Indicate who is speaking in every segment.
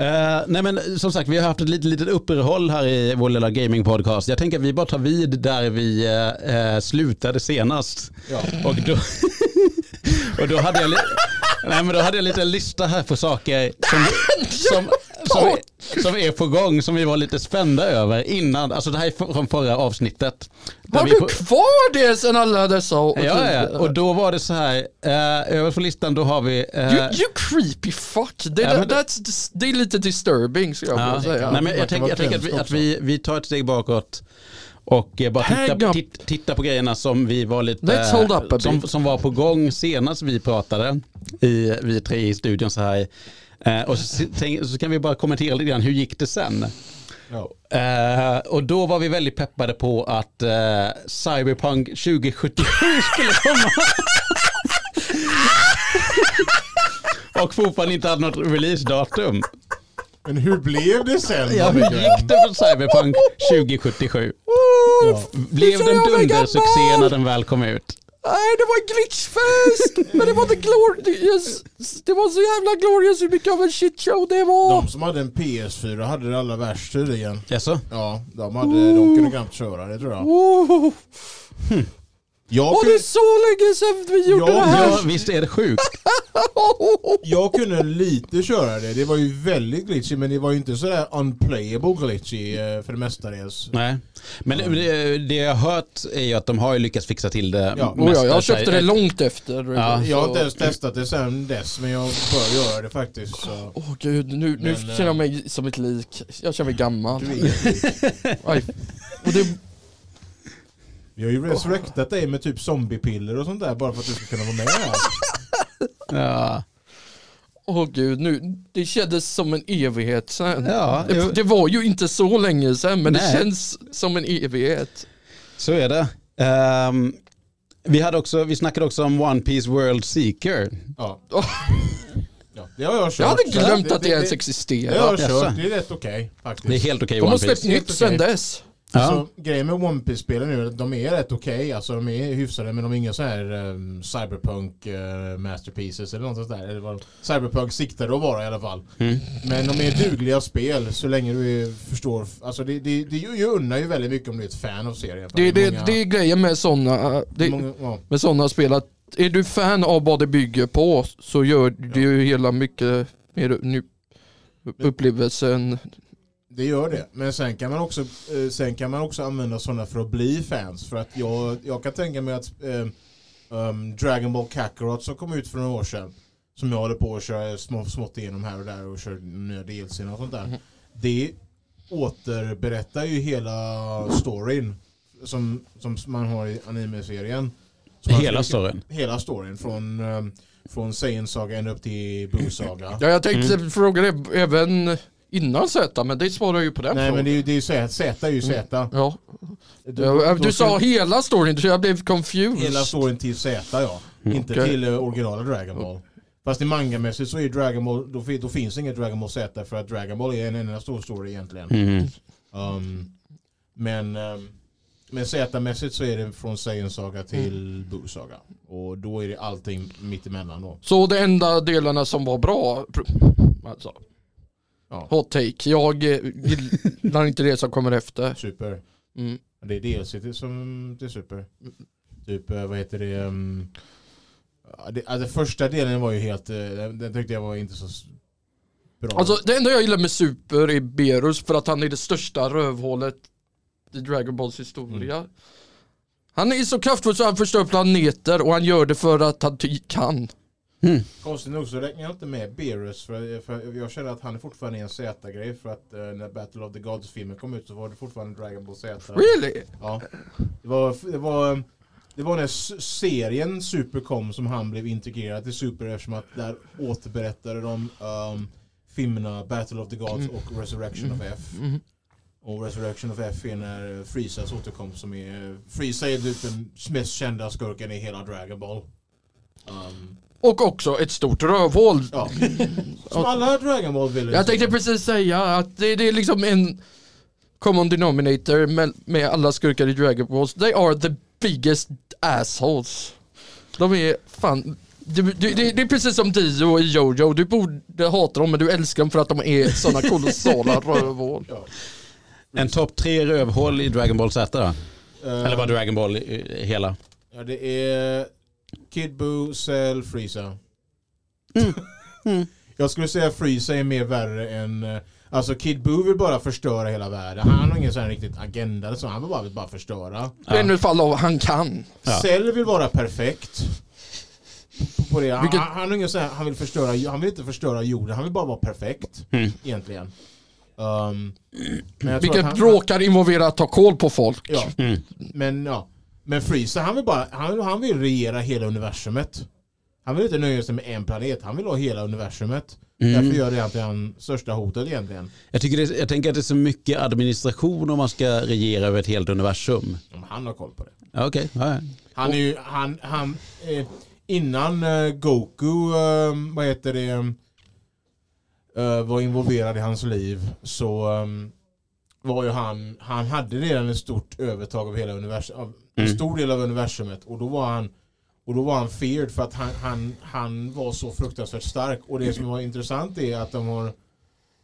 Speaker 1: Eh, nej men som sagt, vi har haft ett litet, litet uppehåll här i vår lilla gaming-podcast. Jag tänker att vi bara tar vid där vi eh, slutade senast. Och, då, och då, hade jag li- nej, men då hade jag lite lista här på saker som, som, som, som är på gång, som vi var lite spända över innan. Alltså det här är från förra avsnittet. Där
Speaker 2: Har
Speaker 1: vi
Speaker 2: du
Speaker 1: på-
Speaker 2: kvar det sen alla dessa år?
Speaker 1: Ja, ja, och då var det så här, eh, över på listan då har vi... eh,
Speaker 2: You, you creepy fuck. Det,
Speaker 1: Ja, men-
Speaker 2: that's, dis- det är lite disturbing skulle jag vilja
Speaker 1: Ja.
Speaker 2: säga.
Speaker 1: Nej, men
Speaker 2: Det
Speaker 1: jag tänker
Speaker 2: verkar
Speaker 1: jag tänker att,
Speaker 2: vara
Speaker 1: vi,
Speaker 2: hemskt
Speaker 1: att vi, vi tar ett steg bakåt och eh, bara
Speaker 2: Hang
Speaker 1: titta,
Speaker 2: up.
Speaker 1: titt, titta på grejerna som vi var lite...
Speaker 2: Let's hold up a
Speaker 1: som,
Speaker 2: bit.
Speaker 1: som var på gång senast vi pratade, i, vi tre i studion så här. Eh, och så, tänk, så kan vi bara kommentera lite grann, hur gick det sen? Eh, och då var vi väldigt peppade på att eh, Cyberpunk 2077 skulle komma. och fortfarande inte hade något releasedatum.
Speaker 3: Men hur blev det sen?
Speaker 1: Ja, hur gick det för Cyberpunk 2077? Blev den
Speaker 2: jag mig
Speaker 1: dundersuccé
Speaker 2: gammal.
Speaker 1: när den väl kom ut?
Speaker 2: Nej, det var glitchfest! men det var inte glorious. Det var så jävla glorious hur mycket av en shitshow det var.
Speaker 3: De som hade en PS4 hade det allra värst tydligen.
Speaker 1: Jaså?
Speaker 3: Ja, de, hade, de kunde knappt köra det tror jag.
Speaker 2: Oh,
Speaker 3: Jag
Speaker 2: och det är
Speaker 3: kunde,
Speaker 2: så länge sedan vi gjorde
Speaker 3: Ja,
Speaker 2: det här.
Speaker 1: Ja, visst är det sjukt?
Speaker 3: jag kunde lite köra det. Det var ju väldigt glitchy men det var ju inte sådär unplayable glitchy eh, för det mestadels.
Speaker 1: Nej. Men det, det jag har hört är ju att de har ju lyckats fixa till det.
Speaker 3: Ja.
Speaker 2: Oh, ja, jag
Speaker 1: mesta.
Speaker 2: köpte det långt efter.
Speaker 1: Ja.
Speaker 3: Jag har inte ens testat det sen dess men jag bör göra det faktiskt. Så.
Speaker 2: Åh gud, nu, nu
Speaker 3: Men, eh,
Speaker 2: känner jag mig som ett lik. Jag känner mig gammal.
Speaker 3: Du är-
Speaker 2: Aj. Och det,
Speaker 3: Vi har ju resurrectat dig med typ zombiepiller och sånt där bara för att du ska kunna vara med här.
Speaker 1: Ja.
Speaker 2: åh gud, nu, det kändes som en evighet sen.
Speaker 1: Ja, jo.
Speaker 2: det, det var ju inte så länge sen, men
Speaker 1: Nej.
Speaker 2: det känns som en evighet.
Speaker 1: Så är det. Ehm, vi, hade också, vi snackade också om One Piece World Seeker.
Speaker 3: Ja.
Speaker 2: Åh.
Speaker 3: Ja, det har jag kört.
Speaker 2: Jag hade glömt
Speaker 3: Ja,
Speaker 2: att det ens
Speaker 3: Det har jag
Speaker 2: existerade.
Speaker 1: Jaså.
Speaker 3: kört. Det är rätt okej faktiskt.
Speaker 1: Det är helt okej
Speaker 2: De har
Speaker 1: One
Speaker 2: släppt
Speaker 1: Piece.
Speaker 2: nytt sen
Speaker 3: Okej.
Speaker 2: dess.
Speaker 1: Ja.
Speaker 3: Alltså, grejen med One piece spelen nu är att de är rätt okej. Alltså de är hyfsade men de är inga så här ehm, cyberpunk eh, masterpieces eller något sånt där. Eller vad cyberpunk siktar att vara i alla fall.
Speaker 1: Mm.
Speaker 3: Men de är dugliga spel så länge du eh, förstår. Alltså det, det, det ju- ju unnar ju väldigt mycket om du är ett fan av serien.
Speaker 2: Det, det,
Speaker 3: Många-
Speaker 2: det är grejen med sådana det,
Speaker 3: många- ja.
Speaker 2: med såna spel att är du fan av vad det bygger på så gör det ju hela mycket mer nu, upplevelsen.
Speaker 3: Det gör det. Men sen kan man också, eh, sen kan man också använda sådana för att bli fans. För att jag, jag kan tänka mig att ehm, ehm, Dragon Ball Kakarot som kom ut för några år sedan. Som jag håller på att köra små, smått igenom här och där och kör nya DLC och sånt där. Det återberättar ju hela storyn. Som, som man har i anime-serien. Så man
Speaker 1: Hela
Speaker 3: skulle-
Speaker 1: storyn.
Speaker 3: Hela storyn från, ehm, från Saiyan Saga ända upp till Boo Saga.
Speaker 2: Ja, jag tänkte fråga det även innan Z, men det svarar ju på den
Speaker 3: Nej
Speaker 2: frågan.
Speaker 3: men det är ju det är ju Z, Z är ju Z.
Speaker 2: Ja.
Speaker 3: Du,
Speaker 2: Du,
Speaker 3: då
Speaker 2: du
Speaker 3: ska-
Speaker 2: sa hela storyn så jag blev confused.
Speaker 3: Hela storyn till Z ja. Inte
Speaker 2: Okej.
Speaker 3: till eh, originala Dragon Ball. Fast i mangamässigt så är ju Dragon Ball, då, fi- då finns inget Dragon Ball Z för att Dragon Ball är en enda stor story egentligen.
Speaker 1: Mm.
Speaker 3: Um, men um, men Z-mässigt så är det från Saiyan Saga till Boo Saga. Och då är det allting mittemellan då.
Speaker 2: Så de enda delarna som var bra, alltså,
Speaker 3: Ja,
Speaker 2: hot take. Jag eh, gillar inte det som kommer efter.
Speaker 3: super.
Speaker 2: Mm.
Speaker 3: Det är DLC till, som, till super. Typ eh, vad heter det? Um, ja, det alltså, första delen var ju helt, eh, den, den tyckte jag var inte så s- bra.
Speaker 2: Alltså det enda jag gillar med Super är Berus för att han är det största rövhålet i Dragon Balls historia. Han är så kraftfull så han förstör planeter och han gör det för att han ty- kan.
Speaker 3: Konstigt nog så räknar jag inte med Beerus för, för jag känner att han är fortfarande en Z-grej för att eh, när Battle of the Gods-filmen kom ut så var det fortfarande Dragon Ball Z.
Speaker 2: Really?
Speaker 3: Ja. Det, var, det, var, det var när s- serien Super kom som han blev integrerad i Super eftersom att där återberättade de um, filmerna Battle of the Gods och Resurrection of F. Och Resurrection of F är när eh, Freezas återkomst som är... Freeza är typ den mest kända skurken i hela Dragon Ball. Um,
Speaker 2: Och också ett stort rövhål.
Speaker 3: Ja. Som alla Dragon Ball villains.
Speaker 2: Jag tänkte precis säga att det, det är liksom en common denominator med, med alla skurkar i Dragon Balls. They are the biggest assholes. De är fan Du, du, det, det är precis som Dio i Jojo, du borde hata dem men du älskar dem för att de är sådana kolossala rövhål.
Speaker 1: En topp tre rövhål i Dragon Ball Z då?
Speaker 3: Eh,
Speaker 1: Eller bara Dragon Ball i, i hela?
Speaker 3: ja, det är Kid Buu, Cell, Freeza.
Speaker 2: Mm.
Speaker 3: Jag skulle säga Freeza är mer värre än... eh, Alltså Kid Buu vill bara förstöra hela världen. Han har ingen sån här riktigt agenda eller så. Han vill bara, vill bara förstöra.
Speaker 2: Det är nu ett fall av han kan.
Speaker 1: Ja.
Speaker 3: Cell vill vara perfekt. På- På det. Han,
Speaker 2: Vilket-
Speaker 3: han, har ingen sån här, han, vill förstöra, han vill inte förstöra jorden, han vill bara vara perfekt.
Speaker 2: Mm.
Speaker 3: Egentligen. Um, men jag tror
Speaker 2: Vilket
Speaker 3: att han-
Speaker 2: råkar involvera att ta koll på folk.
Speaker 3: Ja. Men ja. Men Freeza, han vill bara, han, han vill regera hela universumet. Han vill inte nöja sig med en planet, han vill ha hela universumet. Därför gör det att han största hotet egentligen.
Speaker 1: Jag, tycker det, jag tänker att det är så mycket administration om man ska regera över ett helt universum.
Speaker 3: Om han har koll på det.
Speaker 1: Ja, Okej, ja, ja.
Speaker 3: Han är ju, han, han, eh, innan eh, Goku, eh, vad heter det, eh, var involverad i hans liv så eh, var ju han, han hade redan ett stort övertag av hela universum, av en stor del av universumet och då var han och då var han feared för att han, han, han var så fruktansvärt stark. Och det som var intressant är att de har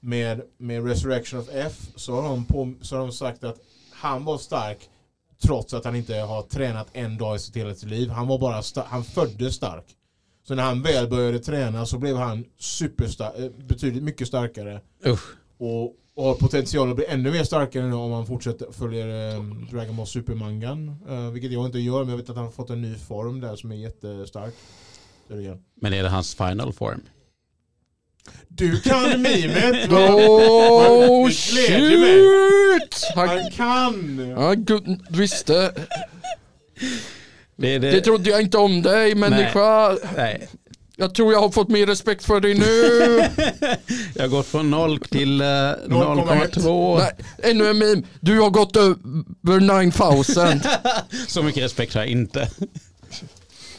Speaker 3: med, med Resurrection of F så har, de på, så har de sagt att han var stark trots att han inte har tränat en dag i sitt hela sitt liv. Han var bara sta- han föddes stark. Så när han väl började träna så blev han superstark, betydligt mycket starkare.
Speaker 1: Usch.
Speaker 3: Och, och har potential att bli ännu mer starkare nu om han fortsätter följer eh, Dragon Ball Supermangan. Eh, vilket jag inte gör, men jag vet att han har fått en ny form där som är jättestark. Så det är-
Speaker 1: Men är det hans final form?
Speaker 3: Du kan mimet!
Speaker 2: Oh
Speaker 3: Det gläder mig.
Speaker 2: shit! Han,
Speaker 3: Han kan!
Speaker 2: han gu- visste.
Speaker 1: Det, är det,
Speaker 2: Det trodde jag inte om dig människa.
Speaker 1: nej.
Speaker 2: Jag tror jag har fått mer respekt för dig nu.
Speaker 1: Jag har gått från 0 till eh, 0,2.
Speaker 2: Nej, ännu en meme. Du har gått över 9000.
Speaker 1: Så mycket respekt har jag inte.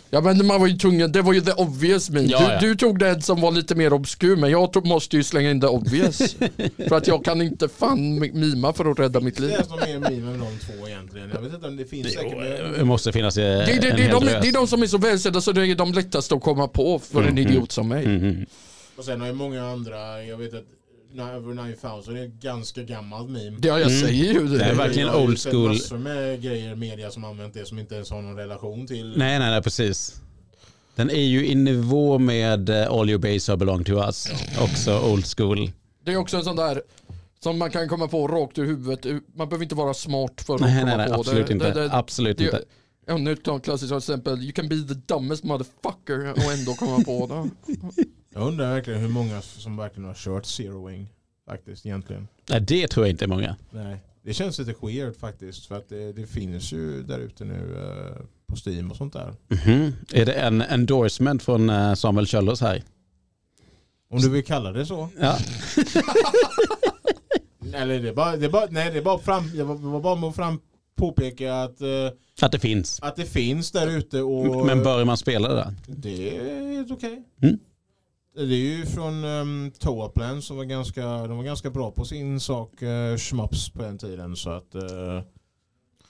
Speaker 2: Ja men man var ju tvungen, det var ju the obvious meme.
Speaker 1: Ja,
Speaker 2: du,
Speaker 1: ja.
Speaker 2: du tog den som var lite mer obskur men jag tog, måste ju slänga in the obvious. för att jag kan inte fan mi- mima för att rädda mitt
Speaker 3: Det
Speaker 2: liv.
Speaker 3: är som är meme med de två egentligen. Jag vet inte om det finns säkert. men-
Speaker 1: Det måste finnas eh,
Speaker 2: Det, det, det,
Speaker 1: en
Speaker 2: är
Speaker 1: hel
Speaker 2: de,
Speaker 1: drös. Mm,
Speaker 2: det är de som är så välsedda så det är de lättaste att komma på för en idiot som mig.
Speaker 1: Mhm.
Speaker 3: Och sen har ju många andra, jag vet att Over 9000 är ett ganska gammalt meme.
Speaker 2: Ja jag säger ju det.
Speaker 1: Mm. Det är verkligen
Speaker 3: Jag har ju
Speaker 1: old
Speaker 3: sett
Speaker 1: school.
Speaker 3: massor med grejer i media som använt det som inte ens har någon relation till.
Speaker 1: Nej, nej, nej, precis. Den är ju i nivå med eh, All Your Base Are Belong To Us. Också old school.
Speaker 2: Det är också en sån där som man kan komma på rakt ur huvudet. Man behöver inte vara smart för att
Speaker 1: Nej,
Speaker 2: komma
Speaker 1: nej, nej,
Speaker 2: på
Speaker 1: absolut
Speaker 2: det.
Speaker 1: inte.
Speaker 2: Det, det,
Speaker 1: absolut
Speaker 2: det,
Speaker 1: inte.
Speaker 2: Ännu ett klart klassiskt exempel. You can be the dumbest motherfucker och ändå komma på det.
Speaker 3: Jag undrar verkligen hur många som verkligen har kört Zero Wing. Faktiskt egentligen.
Speaker 1: Nej, det tror jag inte är många.
Speaker 3: Nej. Det känns lite weird faktiskt. För att det, det finns ju där ute nu eh, på Steam och sånt där.
Speaker 1: Mhm. Är det en endorsement från eh, Samuel Kjöllers här?
Speaker 3: Om du vill kalla det så.
Speaker 1: Ja.
Speaker 3: Eller det är bara, det är bara, nej, det är bara fram, jag var- var bara med att fram påpeka att, eh,
Speaker 1: Att det finns.
Speaker 3: att det finns där ute och
Speaker 1: Men bör man spela det? där?
Speaker 3: det är helt okej.
Speaker 1: Mm.
Speaker 3: Det är ju från um, Toaplan som var ganska, de var ganska bra på sin sak, uh, Schmaps på den tiden så att eh,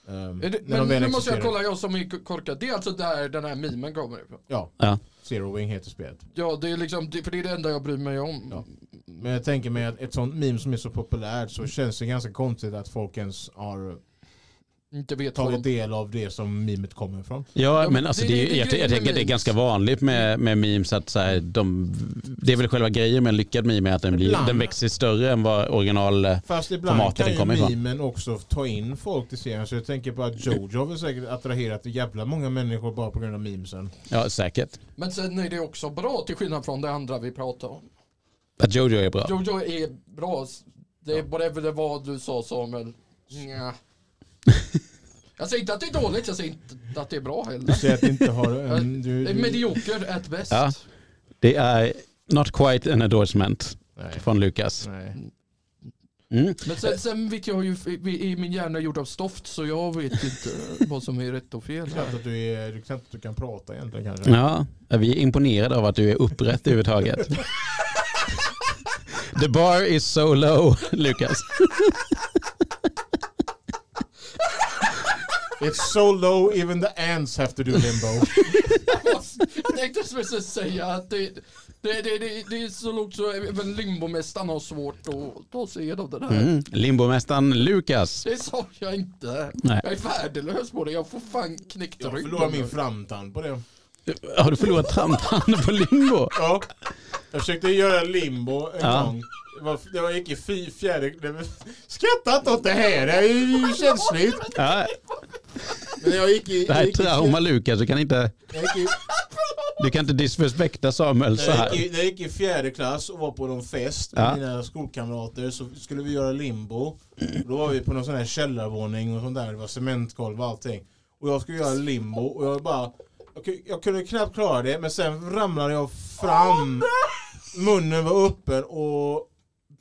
Speaker 3: ehm,
Speaker 2: Är det-
Speaker 3: när de
Speaker 2: Men
Speaker 3: väl
Speaker 2: nu måste jag
Speaker 3: existerar-
Speaker 2: kolla, jag som är korkad. Det är alltså där den här mimen kommer ifrån.
Speaker 3: Ja,
Speaker 1: Ja.
Speaker 3: Zero Wing heter spelet.
Speaker 2: Ja, det är liksom, det- för det är det enda jag bryr mig om.
Speaker 3: Ja. Men jag tänker mig att ett sånt meme som är så populärt så känns det ganska konstigt att folk ens har
Speaker 2: Inte vet vad
Speaker 3: tagit
Speaker 2: de...
Speaker 3: del av det som memet kommer ifrån.
Speaker 1: Ja,
Speaker 2: Ja,
Speaker 1: men alltså
Speaker 2: det-
Speaker 1: det, är
Speaker 2: det-
Speaker 1: ju-
Speaker 2: det är
Speaker 1: jag, jag,
Speaker 2: grejen med
Speaker 1: tänker att det är
Speaker 2: memes.
Speaker 1: ganska vanligt med, med memes att så här, de, det är väl själva grejen med en lyckad meme är att den, blir,
Speaker 3: Ibland.
Speaker 1: den växer större än vad original... eh,
Speaker 3: Fast ibland
Speaker 1: formatet den
Speaker 3: kan
Speaker 1: kommer
Speaker 3: ju
Speaker 1: ifrån.
Speaker 3: memen också ta in folk till serien. Så jag tänker på att Jojo har väl säkert attraherat jävla många människor bara på grund av memesen.
Speaker 1: Ja, säkert.
Speaker 2: Men sen är det också bra till skillnad från det andra vi pratade om.
Speaker 1: Att Jojo är bra.
Speaker 2: Jojo är bra. Det är whatever det var du sa Samuel. Nja. Jag säger inte att det är dåligt, jag säger inte att det är bra heller.
Speaker 3: Så att inte har en... Du,
Speaker 2: Det är
Speaker 3: du,
Speaker 2: medioker at best.
Speaker 1: Ja. Det är not quite an endorsement
Speaker 3: nej,
Speaker 1: från Lukas.
Speaker 3: nej.
Speaker 1: Mm.
Speaker 2: Men sen, sen vet jag ju, i min hjärna är gjord av stoft så jag vet inte vad som är rätt och fel.
Speaker 3: Knappt
Speaker 2: Här.
Speaker 3: att du, är, du, knappt att du kan prata egentligen kanske.
Speaker 1: Ja, vi är imponerade av att du är upprätt överhuvudtaget. The bar is so low, Lukas.
Speaker 3: It's so low even the ants have to do limbo.
Speaker 2: Jag tänkte skulle precis säga att det, det, det, det, det är så lågt så även limbomästaren har svårt att ta sig igenom det där.
Speaker 1: Mm. Limbomästaren Lukas.
Speaker 2: Det sa jag inte.
Speaker 1: Nej.
Speaker 2: Jag är värdelös på det. Jag får fan knäckt
Speaker 3: Jag
Speaker 2: ryggen.
Speaker 3: förlorade min framtand på det.
Speaker 1: Har du förlorat tramptanden på limbo?
Speaker 3: Ja. Jag försökte göra limbo en
Speaker 1: Ja.
Speaker 3: gång. Det var- Jag gick i fy, fjärde... nej, men Skratta inte åt det här, det är ju känsligt.
Speaker 1: Ja,
Speaker 3: Men jag gick i...
Speaker 1: det här
Speaker 3: jag
Speaker 1: är
Speaker 3: gick i-
Speaker 1: trauma Lukas. Du kan inte,
Speaker 3: Jag gick i,
Speaker 1: du kan inte disrespekta Samuel Alltså, så
Speaker 3: jag, gick
Speaker 1: här.
Speaker 3: i, jag gick i fjärde klass och var på någon fest med
Speaker 1: Ja.
Speaker 3: mina skolkamrater så skulle vi göra limbo. Då var vi på någon sån här källarvåning och sånt där. Det var cementgolv och allting. Och jag skulle göra limbo och jag bara... Jag, ku- jag kunde knappt klara det men sen ramlade jag fram. Munnen var öppen och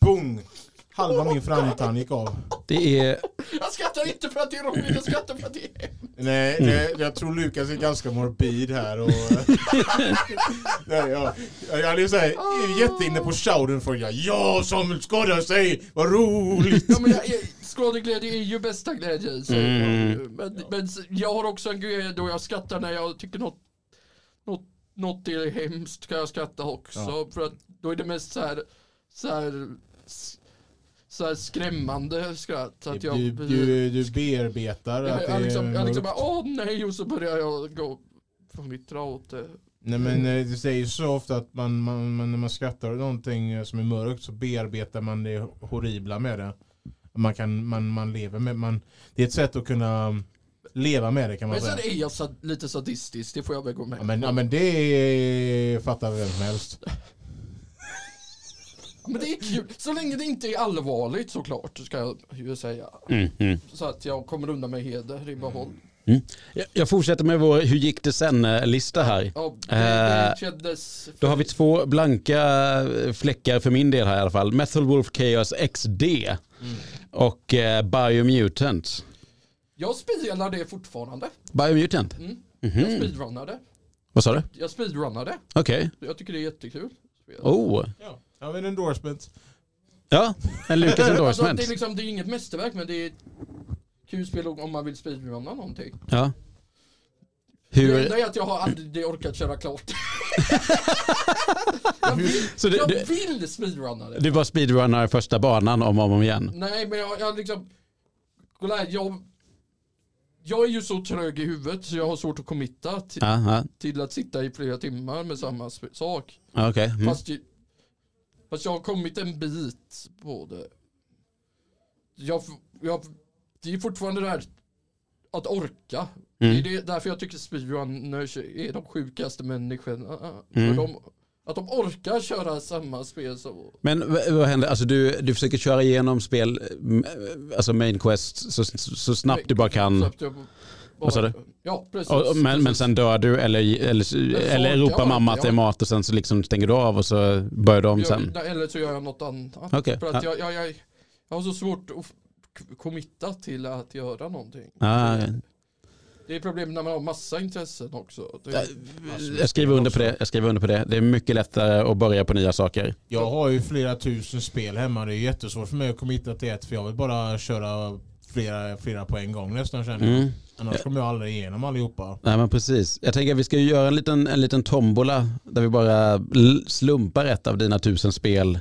Speaker 3: bong! Halva min framtand gick av.
Speaker 1: Det är,
Speaker 2: Jag skrattar inte för att det är roligt, jag skrattar för att det är
Speaker 3: Nej, det, jag tror Lukas är ganska morbid här. Och, Nej, jag, jag hade ju så här, är jätteinne på Schadenfreude. Ja, Samuel skadade sig, vad roligt!
Speaker 2: Ja men jag är, skadeglädje är ju bästa glädje. Så
Speaker 1: Mm.
Speaker 2: men, men s- jag har också en grej då jag skrattar när jag tycker något, något, något är hemskt kan jag skratta också. För att då är det mest så här, så här, s- så här skrämmande skratt. Att jag,
Speaker 3: Du, du, du bearbetar
Speaker 2: jag,
Speaker 3: att det
Speaker 2: jag, liksom, jag liksom
Speaker 3: är...
Speaker 2: bara åh nej och så börjar jag gå fnittra åt det.
Speaker 3: Nej men eh, det säger ju så ofta att man, man, man, när man skrattar åt någonting eh, som är mörkt så bearbetar man det horribla med det. Man kan, man, man lever med, man, det är ett sätt att kunna leva med det kan man
Speaker 2: Men sen
Speaker 3: säga.
Speaker 2: är jag sad, lite sadistisk, det får jag väl gå med
Speaker 3: Ja men, ja, men det fattar vem som helst.
Speaker 2: Men det är kul, så länge det inte är allvarligt såklart ska jag ju säga.
Speaker 1: mm, mm.
Speaker 2: Så att jag kommer undan med heder i behåll.
Speaker 1: Jag- Jag fortsätter med vår hur gick det sen-lista här.
Speaker 2: Ja, det, det
Speaker 1: Eh,
Speaker 2: kändes...
Speaker 1: Då har vi två blanka eh, fläckar för min del här i alla fall. Metal Wolf Chaos XD och eh, Biomutant.
Speaker 2: Jag spelar det fortfarande.
Speaker 1: Biomutant?
Speaker 2: Mm. Jag
Speaker 1: Mhm.
Speaker 2: speedrunnar det.
Speaker 1: Vad sa du?
Speaker 2: Jag speedrunnar det.
Speaker 1: Okej.
Speaker 2: Jag tycker det är jättekul. Spel.
Speaker 1: Oh.
Speaker 3: Ja, ja men endorsement.
Speaker 1: Ja, en Lucas
Speaker 2: Alltså,
Speaker 1: endorsement.
Speaker 2: det, är liksom, det är inget mästerverk men det är ett kul spel om man vill speedrunna någonting.
Speaker 1: Ja.
Speaker 2: Det
Speaker 1: Hur,
Speaker 2: enda är att jag har aldrig orkat köra klart. jag vill,
Speaker 1: så du,
Speaker 2: jag
Speaker 1: du,
Speaker 2: vill speedrunna det.
Speaker 1: du var speedrunner första banan om och om igen?
Speaker 2: Nej men jag, jag liksom... Kolla här, jag... Jag är ju så trög i huvudet så jag har svårt att committa till,
Speaker 1: Ja, ja.
Speaker 2: till att sitta i flera timmar med samma sp- sak.
Speaker 1: Ja, Okej. Mm.
Speaker 2: Fast, ju, fast jag har kommit en bit på det. Jag, f- jag, det är fortfarande det här att orka.
Speaker 1: Mm.
Speaker 2: Det är det, därför jag tycker speedrunners är de sjukaste människorna.
Speaker 1: Mm.
Speaker 2: För de, att de orkar köra samma spel som...
Speaker 1: Men v- vad händer, alltså du, du försöker köra igenom spel, m- alltså main quest, så, så så snabbt du bara
Speaker 2: så
Speaker 1: kan.
Speaker 2: att jag bara-
Speaker 1: Vad sa du?
Speaker 2: Ja, precis.
Speaker 1: Och, och- men, men
Speaker 2: precis.
Speaker 1: sen dör du eller, eller, eller ropar mamma att det är mat och sen så liksom stänger du av och så börjar du om
Speaker 2: Jag-
Speaker 1: sen.
Speaker 2: nej, Eller så gör jag något annat.
Speaker 1: Okej.
Speaker 2: För att jag, jag, jag, jag har så svårt att f- k- committa till att göra någonting.
Speaker 1: Ja, ja.
Speaker 2: Det är problem när man har massa intressen också. Det,
Speaker 1: jag skriver under på det. Jag skriver under på det. Det är mycket lättare att börja på nya saker.
Speaker 3: Jag har ju flera tusen spel hemma. Det är jättesvårt för mig att committa till ett för jag vill bara köra flera, flera på en gång nästan känner jag.
Speaker 1: Mm.
Speaker 3: Annars kommer jag aldrig igenom allihopa.
Speaker 1: Nej men precis. Jag tänker att vi ska ju göra en liten, en liten tombola där vi bara l- slumpar ett av dina tusen spel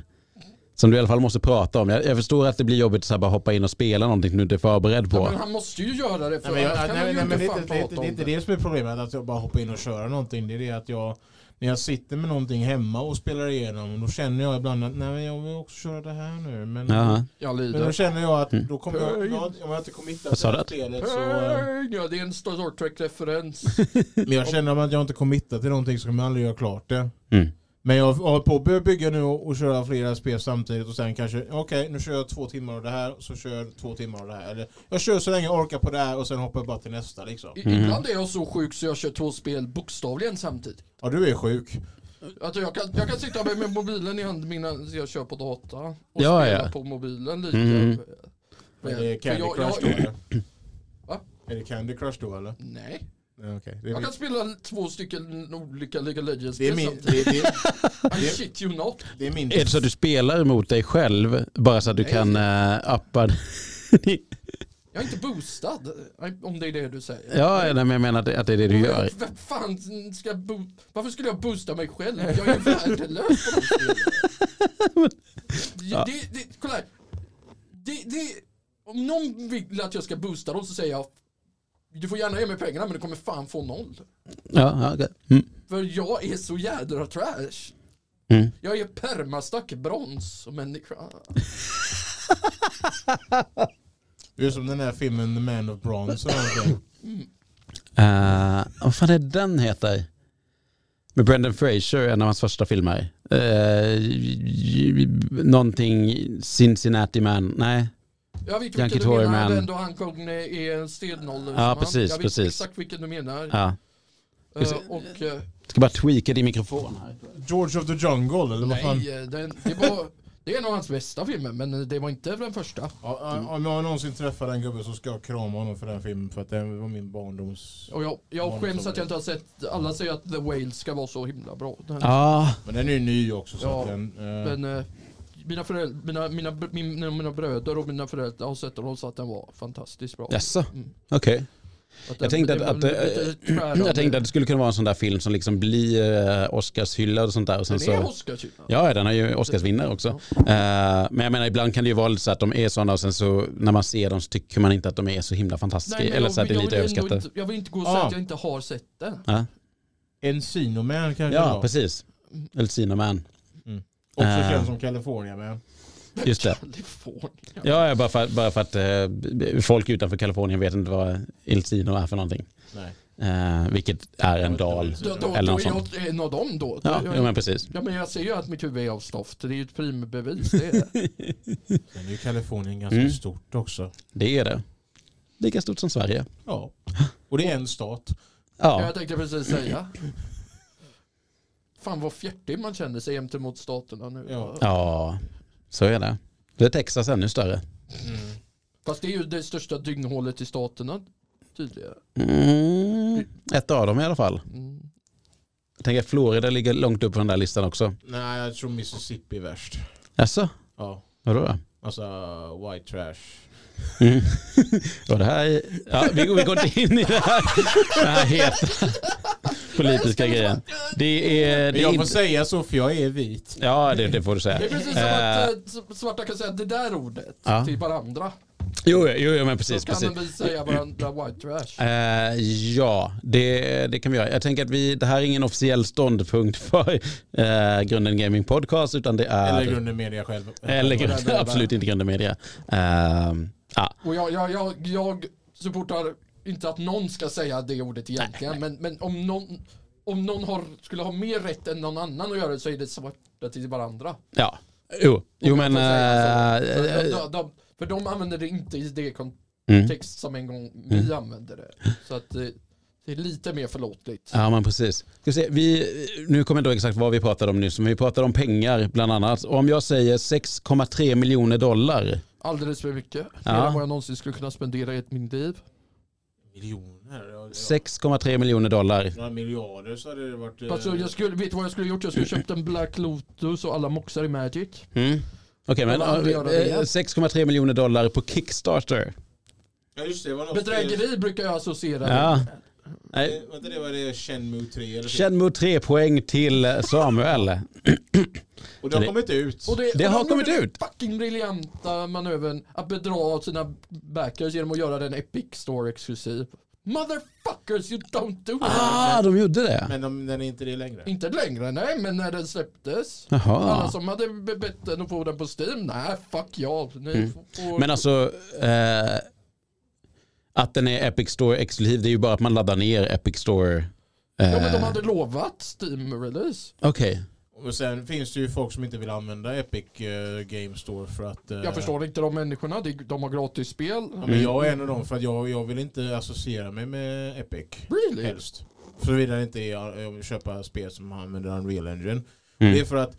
Speaker 1: som du i alla fall måste prata om. Jag, jag förstår att det blir jobbigt att så här bara hoppa in och spela någonting du inte är förberedd
Speaker 2: ja,
Speaker 1: på.
Speaker 2: men han måste ju göra det för
Speaker 3: Nej, men jag,
Speaker 2: annars kan
Speaker 3: nej, nej,
Speaker 2: han
Speaker 3: men
Speaker 2: ju
Speaker 3: det,
Speaker 2: inte fan
Speaker 3: är inte- det, är inte-
Speaker 2: prata
Speaker 3: det är
Speaker 2: om
Speaker 3: inte
Speaker 2: det.
Speaker 3: det som är problemet, att jag bara hoppar in och kör någonting. Det är det att jag, när jag sitter med någonting hemma och spelar igenom, då känner jag ibland att nej, men jag vill också köra det här nu. Men,
Speaker 1: Jaha.
Speaker 2: Jag
Speaker 3: men då
Speaker 2: lider.
Speaker 3: känner jag att då kommer jag, om
Speaker 2: Pöjd.
Speaker 3: jag om jag inte committar
Speaker 1: Mm. Vad
Speaker 3: till
Speaker 1: sa
Speaker 3: det
Speaker 1: du?
Speaker 3: här spelet så... eh,
Speaker 2: Pöjd, Ja, det är en Star Trek-referens.
Speaker 3: Men jag känner att jag inte committar till någonting så kommer jag aldrig göra klart det.
Speaker 1: Mm.
Speaker 3: Men jag håller på att börja bygga nu och, och köra flera spel samtidigt och sen kanske, okej nu kör jag två timmar av det här och så kör jag två timmar av det här. Eller jag kör så länge jag orkar på det här och sen hoppar jag bara till nästa liksom.
Speaker 2: I-
Speaker 1: Mm.
Speaker 2: Ibland är jag så sjuk så jag kör två spel bokstavligen samtidigt.
Speaker 3: Ja du är sjuk.
Speaker 2: Alltså jag, kan, jag kan sitta med, med mobilen i handen medan jag kör på data. Och
Speaker 1: Ja,
Speaker 2: spela
Speaker 1: ja.
Speaker 2: på mobilen lite.
Speaker 1: Mm.
Speaker 2: Men-
Speaker 3: Är det
Speaker 2: för
Speaker 3: Candy
Speaker 2: jag-
Speaker 3: Crush
Speaker 2: jag-
Speaker 3: då eller?
Speaker 2: Va?
Speaker 3: Är det Candy Crush då eller?
Speaker 2: Nej.
Speaker 3: Ja, Okej. Det,
Speaker 2: Jag
Speaker 3: är-
Speaker 2: kan spela två stycken olika League of Legends
Speaker 3: det, är min-
Speaker 2: samtidigt.
Speaker 3: det, är- det, är-
Speaker 2: I shit you not.
Speaker 3: det är min...
Speaker 1: Är det så att du spelar mot dig själv bara så att du
Speaker 2: Nej.
Speaker 1: kan uh, appa?
Speaker 2: Jag är inte boostad, om det är det du säger.
Speaker 1: Ja, nej, men jag menar att det, att det är det du gör.
Speaker 2: Vem fan ska jag bo- Varför skulle jag boosta mig själv? Jag är värdelös på de spelen.
Speaker 1: Ja.
Speaker 2: det, det, Kolla här. Det, det, om någon vill att jag ska boosta dem så säger jag du får gärna ge mig pengarna men du kommer fan få noll.
Speaker 1: Ja, ja, okej. mm.
Speaker 2: För jag är så jädra trash.
Speaker 1: Mm.
Speaker 2: Jag är permastack brons människa.
Speaker 3: Det är som den här filmen The Man of Bronze. eller någonting.
Speaker 1: Eh, vad fan är den heter? Med Brendan Fraser, en av hans första filmer. Eh, j- j- någonting Cincinnati Man, nej.
Speaker 2: Jag vet
Speaker 1: Yankee
Speaker 2: vilken du menar,
Speaker 1: Toryman.
Speaker 2: den då han kom ner i en stenålder. som
Speaker 1: Ja,
Speaker 2: han.
Speaker 1: precis,
Speaker 2: Jag vet
Speaker 1: precis.
Speaker 2: exakt vilken du menar.
Speaker 1: Ja.
Speaker 2: Eh, och, eh,
Speaker 1: Ska bara tweaka din mikrofon här.
Speaker 3: George of the Jungle eller vad fan?
Speaker 2: nej, eh, den, det, var, det är en av hans bästa filmer men eh, det var inte den första.
Speaker 3: Ja, ja, Om jag någonsin träffar den gubben så ska jag krama honom för den filmen för att den var min barndoms...
Speaker 2: Och jag, jag
Speaker 3: Många
Speaker 2: skäms
Speaker 3: som
Speaker 2: att jag inte har sett, alla säger att The Whale ska vara så himla bra. Den,
Speaker 1: Ja,
Speaker 3: Men den är ju ny också så
Speaker 2: Ja,
Speaker 3: att den... eh,
Speaker 2: Men eh, mina, föräldrar, mina, mina, br- mina, mina bröder och mina föräldrar har sett den och sa att den var fantastiskt bra.
Speaker 1: jaså?
Speaker 2: Mm.
Speaker 1: Okej.
Speaker 2: Att
Speaker 1: Jag
Speaker 2: den-
Speaker 1: tänkte att,
Speaker 2: det
Speaker 1: att,
Speaker 2: var lite
Speaker 1: eh,
Speaker 2: tvärande.
Speaker 1: jag tänkte att det skulle kunna vara en sån där film som liksom blir eh, Oscarshyllad och sånt där. Och sen
Speaker 2: Den typ. är
Speaker 1: så,
Speaker 2: Oscarshyllad.
Speaker 1: ja, den har ju Oscarsvinnare också. Eh, men jag menar, ibland kan det ju vara lite så att de är sådana och sen så när man ser dem så tycker man inte att de är så himla fantastiska.
Speaker 2: men
Speaker 1: Eller
Speaker 2: jag
Speaker 1: så att det
Speaker 2: vill-
Speaker 1: är lite
Speaker 2: jag vill ändå
Speaker 1: överskattat.
Speaker 2: inte- Jag vill inte gå och säga
Speaker 3: Ah.
Speaker 2: att jag inte har sett den.
Speaker 1: Ja.
Speaker 3: Encinoman kanske det
Speaker 1: Ja,
Speaker 3: var.
Speaker 1: precis. Elsino Man.
Speaker 3: Också
Speaker 1: Eh.
Speaker 3: känd som California man.
Speaker 1: Just det.
Speaker 2: Kalifornien.
Speaker 1: Ja, ja, bara för, bara för att eh, b- folk utanför Kalifornien vet inte vad Elsino är för någonting.
Speaker 3: Nej.
Speaker 1: Eh, vilket är en dal.
Speaker 2: Då, då, då
Speaker 1: Eller något
Speaker 2: är
Speaker 1: sånt.
Speaker 2: jag en av dem då.
Speaker 1: Ja,
Speaker 2: jag,
Speaker 1: jo, men precis.
Speaker 2: ja, men jag ser ju att mitt huvud är av stoft. Det är ju ett primbevis. Det är det.
Speaker 3: Sen är ju Kalifornien ganska
Speaker 1: Mm.
Speaker 3: stort också.
Speaker 1: Det är det. Lika stort som Sverige.
Speaker 3: Ja. Och det är en stat.
Speaker 1: Ja,
Speaker 2: Jag tänkte precis säga. Fan vad fjärtig man känner sig gentemot staterna nu.
Speaker 3: Ja.
Speaker 1: ja så är det. Det är Texas ännu större.
Speaker 3: Mm.
Speaker 2: Fast det är ju det största dynghålet i staterna tydligen.
Speaker 1: Mm, ett av dem i alla fall.
Speaker 2: Mm.
Speaker 1: Jag tänker att Florida ligger långt upp på den där listan också.
Speaker 3: Nej, jag tror Mississippi är värst.
Speaker 1: Jaså?
Speaker 3: Ja.
Speaker 1: Vadå då?
Speaker 3: Alltså white trash.
Speaker 1: Mm. Och det här är, ja, vi, går- vi går inte in i det här, det här heta politiska grejen. Det är... Det
Speaker 3: Men
Speaker 1: är
Speaker 3: jag får
Speaker 1: inte,
Speaker 3: säga så för jag är vit.
Speaker 1: ja, det, det får du säga.
Speaker 2: Det är precis som
Speaker 1: Eh,
Speaker 2: att eh, svarta kan säga det där ordet
Speaker 1: Ja.
Speaker 2: till varandra.
Speaker 1: Jo, jo, jo men
Speaker 2: Då
Speaker 1: precis.
Speaker 2: kan
Speaker 1: precis.
Speaker 2: vi säga varandra white trash.
Speaker 1: Eh, ja, det, det kan vi göra. Jag tänker att vi, det här är ingen officiell ståndpunkt för eh, Grunden Gaming Podcast, utan det är...
Speaker 3: Eller grunden media själv.
Speaker 1: Eller grunden, absolut inte Grunden Media. Eh, ja.
Speaker 2: Och jag, jag, jag, jag supportar inte att någon ska säga det ordet egentligen. Men, men om någon, om någon har, skulle ha mer rätt än någon annan att göra det så är det svarta till varandra.
Speaker 1: Ja, jo, jo
Speaker 2: Om
Speaker 1: men...
Speaker 2: jag får säga alltså, så.
Speaker 1: eh,
Speaker 2: För de, de, de, för de använder det inte i det kontext
Speaker 1: mm.
Speaker 2: som en gång vi använde det. Så att det, det är lite mer förlåtligt.
Speaker 1: Ja men precis. Ska se, vi, nu kommer jag inte ihåg exakt vad vi pratade om nyss, men vi pratade om pengar bland annat. Och om jag säger 6,3 miljoner dollar.
Speaker 2: Alldeles för mycket. Mer
Speaker 1: Ja.
Speaker 2: än vad jag någonsin skulle kunna spendera i ett mitt liv.
Speaker 3: Miljoner? ja, ja.
Speaker 1: 6,3 miljoner dollar.
Speaker 3: Några miljarder så hade det varit... eh,
Speaker 2: Alltså, jag skulle, vet du vad jag skulle gjort? Jag skulle köpt en Black Lotus och alla moxar i Magic.
Speaker 1: Mm. Okej men
Speaker 2: Jag vill aldrig göra det
Speaker 1: eh,
Speaker 2: igen.
Speaker 1: 6,3 miljoner dollar på Kickstarter.
Speaker 3: Ja just det, det var något...
Speaker 2: Bedrägeri brukar jag associera med.
Speaker 1: Ja.
Speaker 3: eh,
Speaker 1: Nej.
Speaker 3: Vänta det var det Shenmue 3 eller så.
Speaker 1: Känn mot tre poäng till Samuel.
Speaker 3: Och det har kommit ut.
Speaker 2: Och det,
Speaker 1: Det
Speaker 2: och
Speaker 1: har
Speaker 2: de
Speaker 1: kommit
Speaker 2: gjorde
Speaker 1: ut.
Speaker 2: den fucking briljanta manövern att bedra sina backers genom att göra den Epic Store exklusiv. Motherfuckers, you don't do that.
Speaker 1: Ah, de gjorde det.
Speaker 3: Men de, den är inte det längre.
Speaker 2: Inte längre, nej, men när den släpptes. Alla
Speaker 1: Jaha.
Speaker 2: som hade be- bett den att få den på Steam, nej, fuck ja. Ni får,
Speaker 1: Mm. Men alltså, eh, att den är Epic Store exklusiv, det är ju bara att man laddar ner Epic Store. Eh,
Speaker 2: ja, men de hade lovat Steam-release.
Speaker 1: Okej.
Speaker 3: Och sen finns det ju folk som inte vill använda Epic eh, Game Store för att... eh,
Speaker 2: Jag förstår inte de människorna, de, de har gratis spel.
Speaker 1: Mm.
Speaker 3: Ja, men jag är en av dem för att jag, jag vill inte associera mig med Epic.
Speaker 2: Really?
Speaker 3: Helst. Såvida det inte är jag vill köpa spel som använder Unreal Engine. Det är
Speaker 1: Mm.
Speaker 3: för att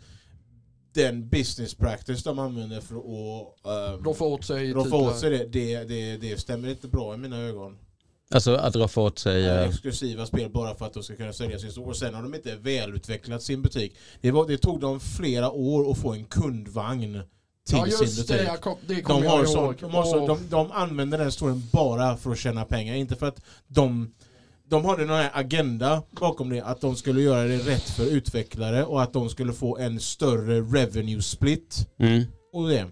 Speaker 3: den business practice de använder för att um,
Speaker 2: Roffa åt sig
Speaker 3: roffa
Speaker 2: titlar.
Speaker 3: åt sig det, det, det, det stämmer inte bra i mina ögon.
Speaker 1: Alltså att roffa åt sig. eh,
Speaker 3: Exklusiva spel bara för att de ska kunna sälja sin store. Och sen har de inte välutvecklat sin butik. Det, var, det tog dem flera år att få en kundvagn till
Speaker 2: Ja just
Speaker 3: sin
Speaker 2: det,
Speaker 3: butik.
Speaker 2: jag kom, det kommer
Speaker 3: De,
Speaker 2: jag
Speaker 3: har
Speaker 2: ihåg.
Speaker 3: så, de, har så,
Speaker 2: Åh.
Speaker 3: de, de använder den storyn bara för att tjäna pengar, inte för att de de hade någon här agenda bakom det, att de skulle göra det rätt för utvecklare och att de skulle få en större revenue split.
Speaker 1: Mm.
Speaker 3: Och det.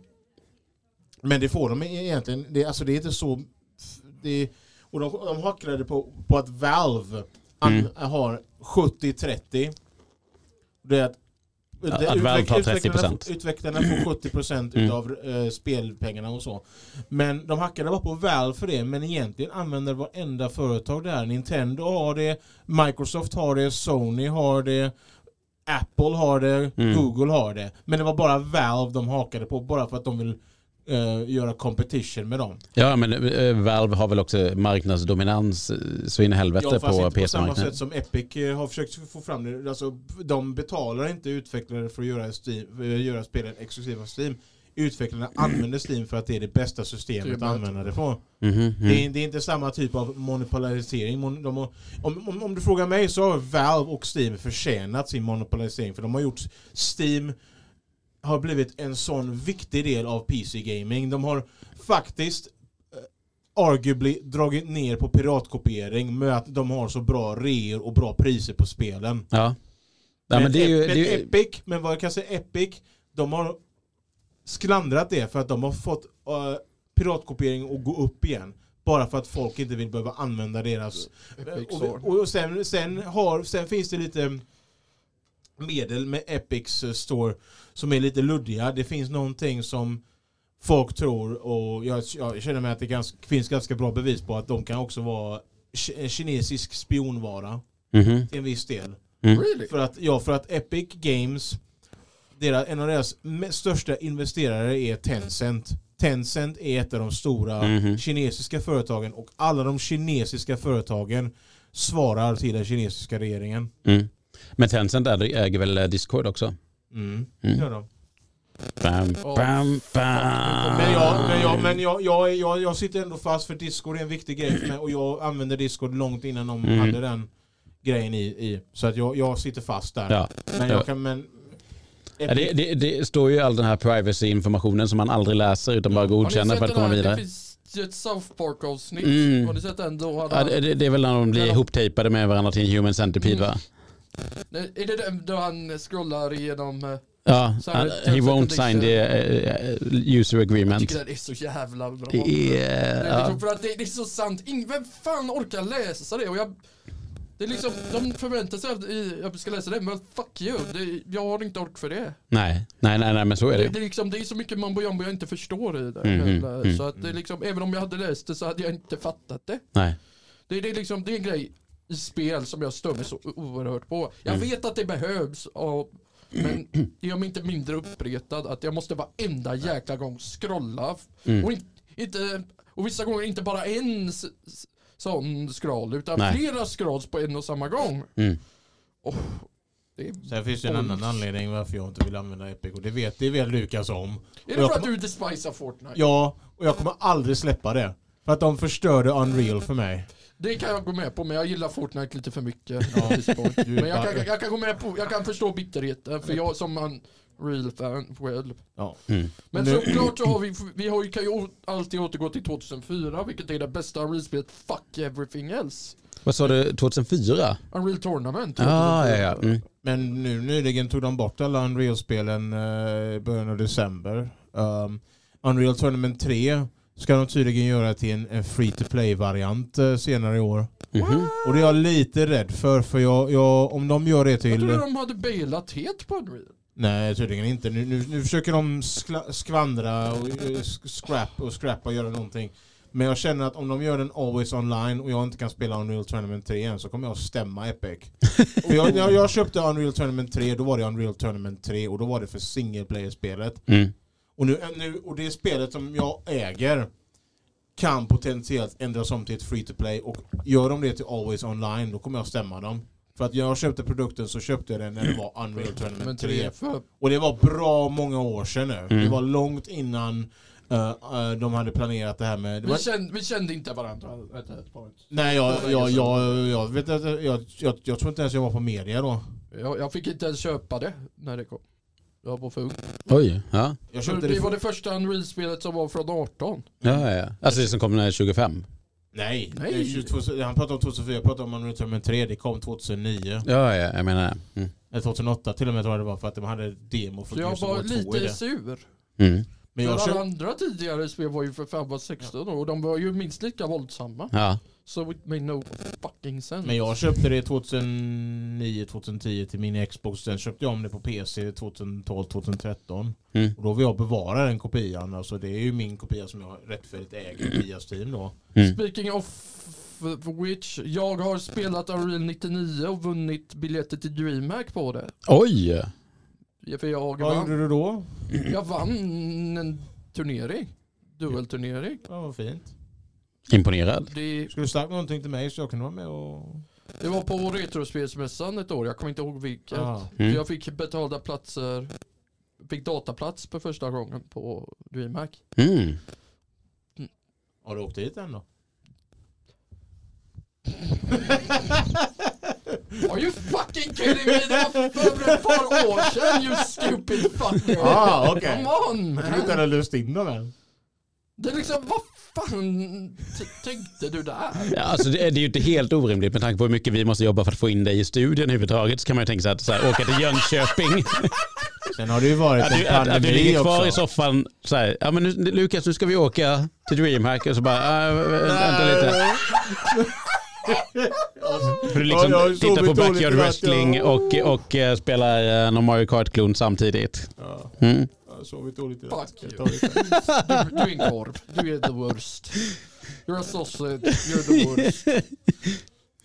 Speaker 3: Men det får de egentligen. Det, alltså det är inte så... Det, och de, de hacklade på, på att Valve an,
Speaker 1: Mm.
Speaker 3: har 70-30. Det är att,
Speaker 1: Att
Speaker 3: det-
Speaker 1: Valve
Speaker 3: utveck-
Speaker 1: tar
Speaker 3: utvecklarna,
Speaker 1: 30%.
Speaker 3: utvecklarna får 70%
Speaker 1: Mm.
Speaker 3: utav eh, spelpengarna och så. Men de hackade bara på Valve för det, men egentligen använder varenda företag det här. Nintendo har det, Microsoft har det, Sony har det, Apple har det,
Speaker 1: Mm.
Speaker 3: Google har det. Men det var bara Valve de hakade på, bara för att de vill eh, göra competition med dem.
Speaker 1: Ja, men eh, Valve har väl också marknadsdominans eh, så in i helvete
Speaker 3: fast
Speaker 1: på
Speaker 3: inte på samma
Speaker 1: PC-marknaden.
Speaker 3: sätt som Epic eh, har försökt få fram det. Alltså, de betalar inte utvecklare för att göra, Steam, för att göra spelen exklusiva för Steam. Utvecklarna använder Steam för att det är det bästa systemet att
Speaker 2: Systemet.
Speaker 3: använda det på.
Speaker 1: Mhm, mm.
Speaker 3: Det, är, det är inte samma typ av monopolisering. Mon, de har, om, om, om du frågar mig så har Valve och Steam förtjänat sin monopolisering för de har gjort Steam har blivit en sån viktig del av PC-gaming. De har faktiskt eh, arguably dragit ner på piratkopiering med att de har så bra reor och bra priser på spelen.
Speaker 1: Ja. Ja, men det är ju,
Speaker 3: Ep-
Speaker 1: det är ju,
Speaker 3: Epic, men vad jag kan säga Epic, de har sklandrat det för att de har fått eh, piratkopiering att gå upp igen. Bara för att folk inte vill behöva använda deras...
Speaker 2: Epic
Speaker 3: och,
Speaker 2: Store.
Speaker 3: och, och sen, sen, har, sen finns det lite medel med Epics eh, store som är lite luddiga. Det finns någonting som folk tror och jag, jag känner mig att det ganska, finns ganska bra bevis på att de kan också vara ki- kinesisk spionvara
Speaker 1: Mhm,
Speaker 3: till en viss del.
Speaker 2: Really?
Speaker 3: För att, ja, för att Epic Games, deras, en av deras me- största investerare är Tencent. Tencent är ett av de stora
Speaker 1: Mhm.
Speaker 3: kinesiska företagen och alla de kinesiska företagen svarar till den kinesiska regeringen.
Speaker 1: mm. Men Tencent äger äger väl eh, Discord också?
Speaker 3: Mm.
Speaker 1: Mm.
Speaker 3: Gör de.
Speaker 1: Bam,
Speaker 2: Åh,
Speaker 1: bam, bam.
Speaker 3: Men, jag, men, jag, men jag, jag, jag, jag sitter ändå fast för Discord är en viktig grej för mig och jag använde Discord långt innan de
Speaker 1: Mm.
Speaker 3: hade den grejen i. i. Så att jag, jag sitter fast där.
Speaker 1: Ja.
Speaker 3: Men jag kan... Men,
Speaker 1: Ja, Det, det, det står ju all den här privacy-informationen som man aldrig läser utan bara godkänner
Speaker 2: Har ni sett
Speaker 1: för att komma
Speaker 2: den här- Det
Speaker 1: vidare.
Speaker 2: finns ett South Park avsnitt.
Speaker 1: Mm.
Speaker 2: Har ni sett den? Då hade
Speaker 1: Ja,
Speaker 2: han,
Speaker 1: det, det- det är väl när de blir
Speaker 2: Ja.
Speaker 1: ihoptejpade med varandra till en human centipede
Speaker 3: Mm.
Speaker 1: va?
Speaker 2: Nej, Är det den då han scrollar igenom? eh,
Speaker 1: Ja,
Speaker 2: Så här,
Speaker 1: han- he won't
Speaker 2: terms and
Speaker 1: sign the eh, user
Speaker 2: Jag
Speaker 1: agreement.
Speaker 2: tycker den är så jävla bra.
Speaker 1: Det är...
Speaker 2: Det är
Speaker 1: ja.
Speaker 2: liksom för att det, det är så sant. Ingen, vem fan orkar läsa det? Och jag, det är liksom, de förväntar sig att i- att vi ska läsa det, men fuck you. Det, jag har inte ork för det.
Speaker 1: Nej, nej, nej, nej, men så är
Speaker 2: Det,
Speaker 1: det.
Speaker 2: det, är liksom, det är så mycket mambo jumbo jag inte förstår i det.
Speaker 1: Mhm,
Speaker 2: Eller-
Speaker 1: mm.
Speaker 2: Så att det är liksom, även om jag hade läst det så hade jag inte fattat det.
Speaker 1: Nej.
Speaker 2: Det, det, är liksom, det är en grej i spel som jag stör mig så oerhört på. Jag
Speaker 1: Mm.
Speaker 2: vet att det behövs, och, men det gör mig inte mindre uppretad att jag måste varenda jäkla gång scrolla.
Speaker 1: Mm.
Speaker 2: Och, in, inte, och vissa gånger inte bara en s, s, sån scroll, utan
Speaker 1: Nej.
Speaker 2: flera scrolls på en och samma gång.
Speaker 1: Mm.
Speaker 2: Oh, det är,
Speaker 3: Sen finns det en annan anledning varför jag inte vill använda Epic och det vet det väl Lukas om.
Speaker 2: är
Speaker 3: Och
Speaker 2: det
Speaker 3: jag
Speaker 2: för att
Speaker 3: kommer-
Speaker 2: du despisar Fortnite?
Speaker 3: Ja, och jag kommer aldrig släppa det. För att de förstörde Unreal för mig.
Speaker 2: Det kan jag gå med på, men jag gillar Fortnite lite för mycket.
Speaker 3: Ja,
Speaker 2: at this point.
Speaker 3: du är
Speaker 2: men jag
Speaker 3: bara-
Speaker 2: kan, jag kan gå med på, jag kan förstå bitterheten, för jag som en real fan själv.
Speaker 3: Ja.
Speaker 1: Mm.
Speaker 2: Men
Speaker 3: Nu-
Speaker 2: såklart så har vi, vi har ju, kan ju å- alltid återgå till 2004, vilket är det bästa Unreal-spelet, fuck everything else.
Speaker 1: Vad sa du, 2004?
Speaker 2: Unreal Tournament.
Speaker 1: Ah, ja, ja.
Speaker 2: 2004.
Speaker 1: Mm.
Speaker 3: Men nu nyligen tog de bort alla Unreal-spelen eh, i början av december. Um, Unreal Tournament 3 ska de tydligen göra till en, en free-to-play-variant eh, senare i år.
Speaker 1: Mhm.
Speaker 3: Och det är jag lite rädd för, för jag, jag, om de gör det
Speaker 2: Jag
Speaker 3: till...
Speaker 2: trodde de hade bailat helt på Unreal.
Speaker 3: Nej, tydligen inte. Nu, nu, nu försöker de skla, skvandra och eh, sk- scrap och scrappa och göra någonting. Men jag känner att om de gör den always online och jag inte kan spela Unreal Tournament 3 än så kommer jag stämma Epic. För jag, jag, jag köpte Unreal Tournament 3, då var det Unreal Tournament 3 och då var det för single player-spelet.
Speaker 1: Mm.
Speaker 3: Och, nu, eh, nu, och det spelet som jag äger kan potentiellt ändras om till ett free to play och gör de det till always online då kommer jag stämma dem. För att jag köpte produkten så köpte jag den när det var Unreal
Speaker 2: Men
Speaker 3: Tournament 3
Speaker 2: tre för...
Speaker 3: och det var bra många år sedan nu. Det var långt innan eh, eh, de hade planerat det här med... Det
Speaker 2: Vi
Speaker 3: var,
Speaker 2: kände, vi kände inte varandra. at that point.
Speaker 3: nej, jag, jag, jag, jag, vet, inte, jag, jag, jag tror inte ens jag var på media då.
Speaker 2: Jag, jag fick inte ens köpa det när det kom. Jag var för ung.
Speaker 1: Oj, ja.
Speaker 3: Jag köpte det
Speaker 2: Det var
Speaker 3: för...
Speaker 2: det första Unreal-spelet som var från 18.
Speaker 1: ja, ja. Alltså det som kom när jag är 25.
Speaker 3: Nej,
Speaker 2: Nej.
Speaker 3: Det är 22, han pratar om 2004, jag pratar om Unreal 3, det kom 2009.
Speaker 1: Ja, ja, jag menar det. Mm.
Speaker 3: Eller 2008 till och med tror jag det var för att de hade demo för
Speaker 2: Så jag
Speaker 3: Gears of
Speaker 2: var
Speaker 3: War 2 i
Speaker 2: lite
Speaker 3: det.
Speaker 2: sur.
Speaker 1: Mm.
Speaker 3: Men
Speaker 2: För
Speaker 3: jag
Speaker 2: alla
Speaker 3: köpte...
Speaker 2: andra tidigare spel var ju för fan var 16 år och de var ju minst lika våldsamma.
Speaker 1: Ja.
Speaker 2: So it made no fucking sense.
Speaker 3: Men jag köpte det 2009-2010 till min Xbox. Sen köpte jag om det på PC 2012-2013.
Speaker 1: Mm.
Speaker 3: Och då vill jag bevara den kopian. Alltså det är ju min kopia som jag rättfärdigt äger via Steam då.
Speaker 1: Mm.
Speaker 2: Speaking of which, jag har spelat Unreal 99 och vunnit biljetter till DreamHack på det.
Speaker 1: Oj!
Speaker 2: För jag
Speaker 3: Vad gjorde
Speaker 2: vann,
Speaker 3: du då?
Speaker 2: jag vann en turnering. Duelturnering.
Speaker 3: Ja, vad fint.
Speaker 1: Imponerad.
Speaker 2: Det,
Speaker 3: Skulle du sagt någonting till mig så jag kunde vara med och...
Speaker 2: det var på Retrospelsmässan ett år, jag kommer inte ihåg vilket.
Speaker 3: Ah.
Speaker 2: Så
Speaker 1: Mm.
Speaker 2: Jag fick betalda platser, fick dataplats för första gången på DreamHack.
Speaker 1: Mm.
Speaker 3: Har du åkt dit än då?
Speaker 2: Are you fucking kidding me? Det var för ett par år sedan you stupid fucker!
Speaker 3: Ah, okej.
Speaker 2: Come on
Speaker 3: Jag trodde inte
Speaker 2: man!
Speaker 3: hade löst in dem än.
Speaker 2: Det är liksom, vad fan t- tänkte du där?
Speaker 1: Ja, alltså det, är, det är ju inte helt orimligt med tanke på hur mycket vi måste jobba för att få in dig i studion överhuvudtaget. Så kan man ju tänka sig att så här, åka till Jönköping.
Speaker 3: Sen har det ju varit
Speaker 1: Att du,
Speaker 3: en
Speaker 1: att, att du ligger
Speaker 3: pandemi
Speaker 1: kvar i
Speaker 3: också.
Speaker 1: soffan så här, ja men nu, Lukas nu ska vi åka till DreamHack och så bara, äh, vänta lite. För du liksom
Speaker 3: Ja, jag har ju
Speaker 1: tittar på
Speaker 3: sovit dåligt
Speaker 1: Backyard
Speaker 3: i natt, ja.
Speaker 1: Wrestling och, och eh, spelar eh, någon Mario Kart-klon samtidigt.
Speaker 3: Ja,
Speaker 1: Mm.
Speaker 3: jag har sovit dåligt i
Speaker 2: Fuck you.
Speaker 3: natt.
Speaker 2: Du, du är en korv, du är the worst. You're a sausage, you're the worst.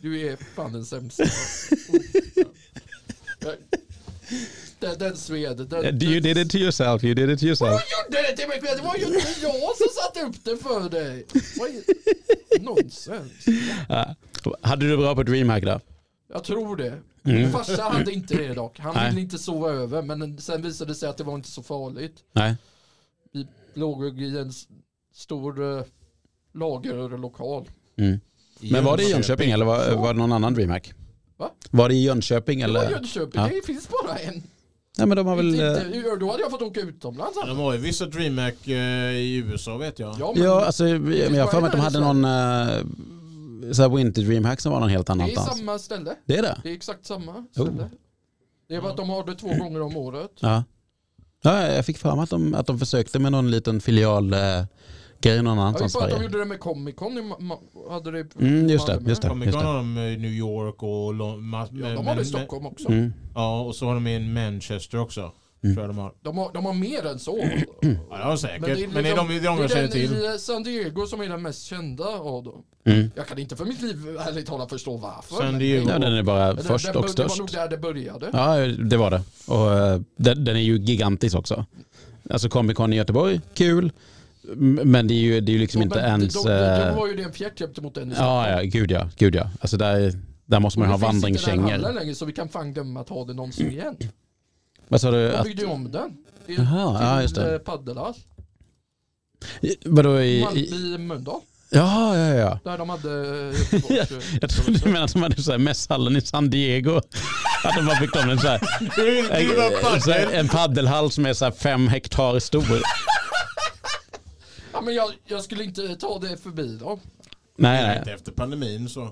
Speaker 2: Du är fan den sämsta. Den, den sved. Den,
Speaker 1: Eh, You did it to yourself, you did it to yourself.
Speaker 2: Vad gjorde det till mig? Det var ju inte jag som satte upp det för dig. Vad är... Nonsens.
Speaker 1: Ja. Hade du det bra på DreamHack då?
Speaker 2: Jag tror det.
Speaker 1: Mm.
Speaker 2: Min farsa hade inte det dock. Han
Speaker 1: Nej.
Speaker 2: ville inte sova över men sen visade det sig att det var inte så farligt.
Speaker 1: Nej.
Speaker 2: Vi låg i en s- stor eh, lagerlokal.
Speaker 1: Mm. Men var det i Jönköping eller var, var det någon annan DreamHack?
Speaker 2: Va?
Speaker 1: Var det i Jönköping
Speaker 2: Det
Speaker 1: eller?
Speaker 2: var Jönköping,
Speaker 1: Ja.
Speaker 2: det finns bara en.
Speaker 1: Nej men de har väl... eh,
Speaker 2: Inte, inte, då hade jag fått åka utomlands.
Speaker 3: De har ju vissa DreamHack eh, i USA vet jag.
Speaker 2: Ja, men
Speaker 1: Ja, alltså, jag jag har för mig att de
Speaker 2: bara
Speaker 1: hade
Speaker 2: där i
Speaker 1: någon eh, så här Winter Dreamhack som var någon helt
Speaker 2: det är
Speaker 1: annanstans.
Speaker 2: samma ställe.
Speaker 1: Det är det?
Speaker 2: Det är exakt samma ställe. Det är bara att de har det två gånger om året.
Speaker 1: Ja. ja jag fick för mig att de, att de försökte med någon liten filial eh, grej någon
Speaker 2: Jag
Speaker 1: annanstans i
Speaker 2: vet bara att de
Speaker 1: Sverige.
Speaker 2: gjorde det med Comic Con. i Ma- Ma- Hade det,
Speaker 1: Mm, just det,
Speaker 2: hade med.
Speaker 1: just det.
Speaker 3: Comic
Speaker 1: Just
Speaker 3: Con
Speaker 1: det.
Speaker 3: har de eh, i New York och Lon- ma-
Speaker 2: Ja,
Speaker 3: men-
Speaker 2: de har det i
Speaker 3: men-
Speaker 2: Stockholm också.
Speaker 1: Mm.
Speaker 3: Ja, och så har de i Manchester också.
Speaker 1: Mm.
Speaker 3: Tror jag de har.
Speaker 2: De, har, de har mer än så.
Speaker 3: Ja, det har de säkert.
Speaker 2: Men
Speaker 3: Men
Speaker 2: det
Speaker 3: det
Speaker 2: är liksom
Speaker 3: är, de, det är de
Speaker 2: det är
Speaker 3: jag känner
Speaker 2: den
Speaker 3: till.
Speaker 2: i San Diego som är den mest kända av dem.
Speaker 1: Mm.
Speaker 2: Jag kan inte för mitt liv ärligt talat förstå varför.
Speaker 3: San
Speaker 2: men-
Speaker 3: Diego.
Speaker 1: Ja, den är bara
Speaker 2: Men det-
Speaker 1: först
Speaker 2: det-
Speaker 1: och
Speaker 2: Det var nog
Speaker 1: störst.
Speaker 2: där det började.
Speaker 1: Ja, det var det. Och eh, den, den är ju gigantisk också. Alltså Comic Con i Göteborg, kul. M- Men det är ju, det är ju liksom
Speaker 2: Och
Speaker 1: inte
Speaker 2: men
Speaker 1: ens...
Speaker 2: Då,
Speaker 1: eh,
Speaker 2: då, då var ju det en fjärt gentemot den i
Speaker 1: Ja, ja, gud ja. Gud ja. Alltså där, där måste man ju ha vandringskängor.
Speaker 2: längre så vi kan fan glömma att ha det någonsin igen.
Speaker 1: Vad sa du?
Speaker 2: De
Speaker 1: Att,
Speaker 2: byggde ju om den. Det är
Speaker 1: Jaha,
Speaker 2: till,
Speaker 1: ja, just det.
Speaker 2: eh, Paddelhall.
Speaker 1: vadå i...
Speaker 2: Man-
Speaker 1: i
Speaker 2: I Mölndal.
Speaker 1: ja, ja, ja.
Speaker 2: Där de hade eh,
Speaker 1: Jag trodde du menade att de hade så här mässhallen i San Diego. Att de har byggt om en, så här, en, Eh, så här, en paddelhall som är så här fem hektar stor.
Speaker 2: Ja, men jag, jag skulle inte ta det förbi dem.
Speaker 1: Nej,
Speaker 3: Nej,
Speaker 1: nej.
Speaker 3: inte efter pandemin så.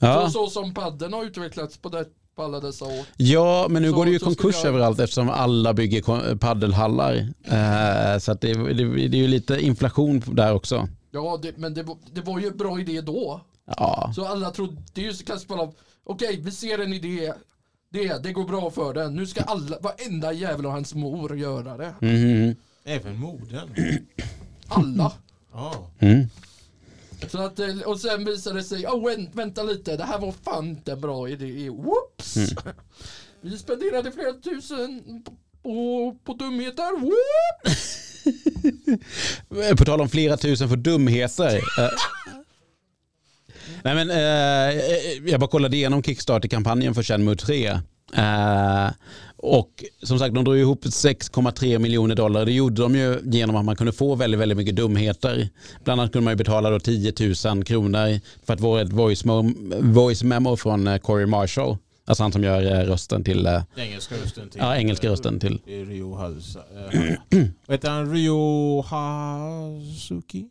Speaker 1: Ja.
Speaker 2: Så, så som padden har utvecklats på, det, på alla dessa år.
Speaker 1: ja, men nu
Speaker 2: så-
Speaker 1: går det ju
Speaker 2: så skulle
Speaker 1: konkurs
Speaker 2: jag-
Speaker 1: överallt eftersom alla bygger kon- paddelhallar. Eh, så att det, det, det är ju lite inflation där också.
Speaker 2: Ja, det, men det, var- det var ju en bra idé då.
Speaker 1: Ja,
Speaker 2: Så alla trodde det är ju så kanske bara, okej vi ser en idé, det, det går bra för den. Nu ska alla, varenda jävel och hans mor göra det.
Speaker 1: Mhm.
Speaker 3: Även moden.
Speaker 2: Alla.
Speaker 3: Ja.
Speaker 1: mm.
Speaker 2: Så att, eh, och sen visade det sig, oh, vän- vänta lite, det här var fan inte en bra idé. Whoops!
Speaker 1: Mm.
Speaker 2: Vi spenderade flera tusen på, på, på dumheter. Whoop!
Speaker 1: Eh, På tal om flera tusen för dumheter. eh, Nej men eh, jag bara kollade igenom Kickstarter-kampanjen för Shenmue 3. Eh, och som sagt de drog ihop 6,3 miljoner dollar. Det gjorde de ju genom att man kunde få väldigt, väldigt mycket dumheter. Bland annat kunde man ju betala då 10 000 kronor för att vara ett voice, mem- voice memo från eh, Corey Marshall Alltså han som gör eh, rösten till, eh,
Speaker 3: Engelska rösten till.
Speaker 1: ja engelska rösten till.
Speaker 3: Det är Ryo Hazuki. Vad heter han? Ryo Hazuki?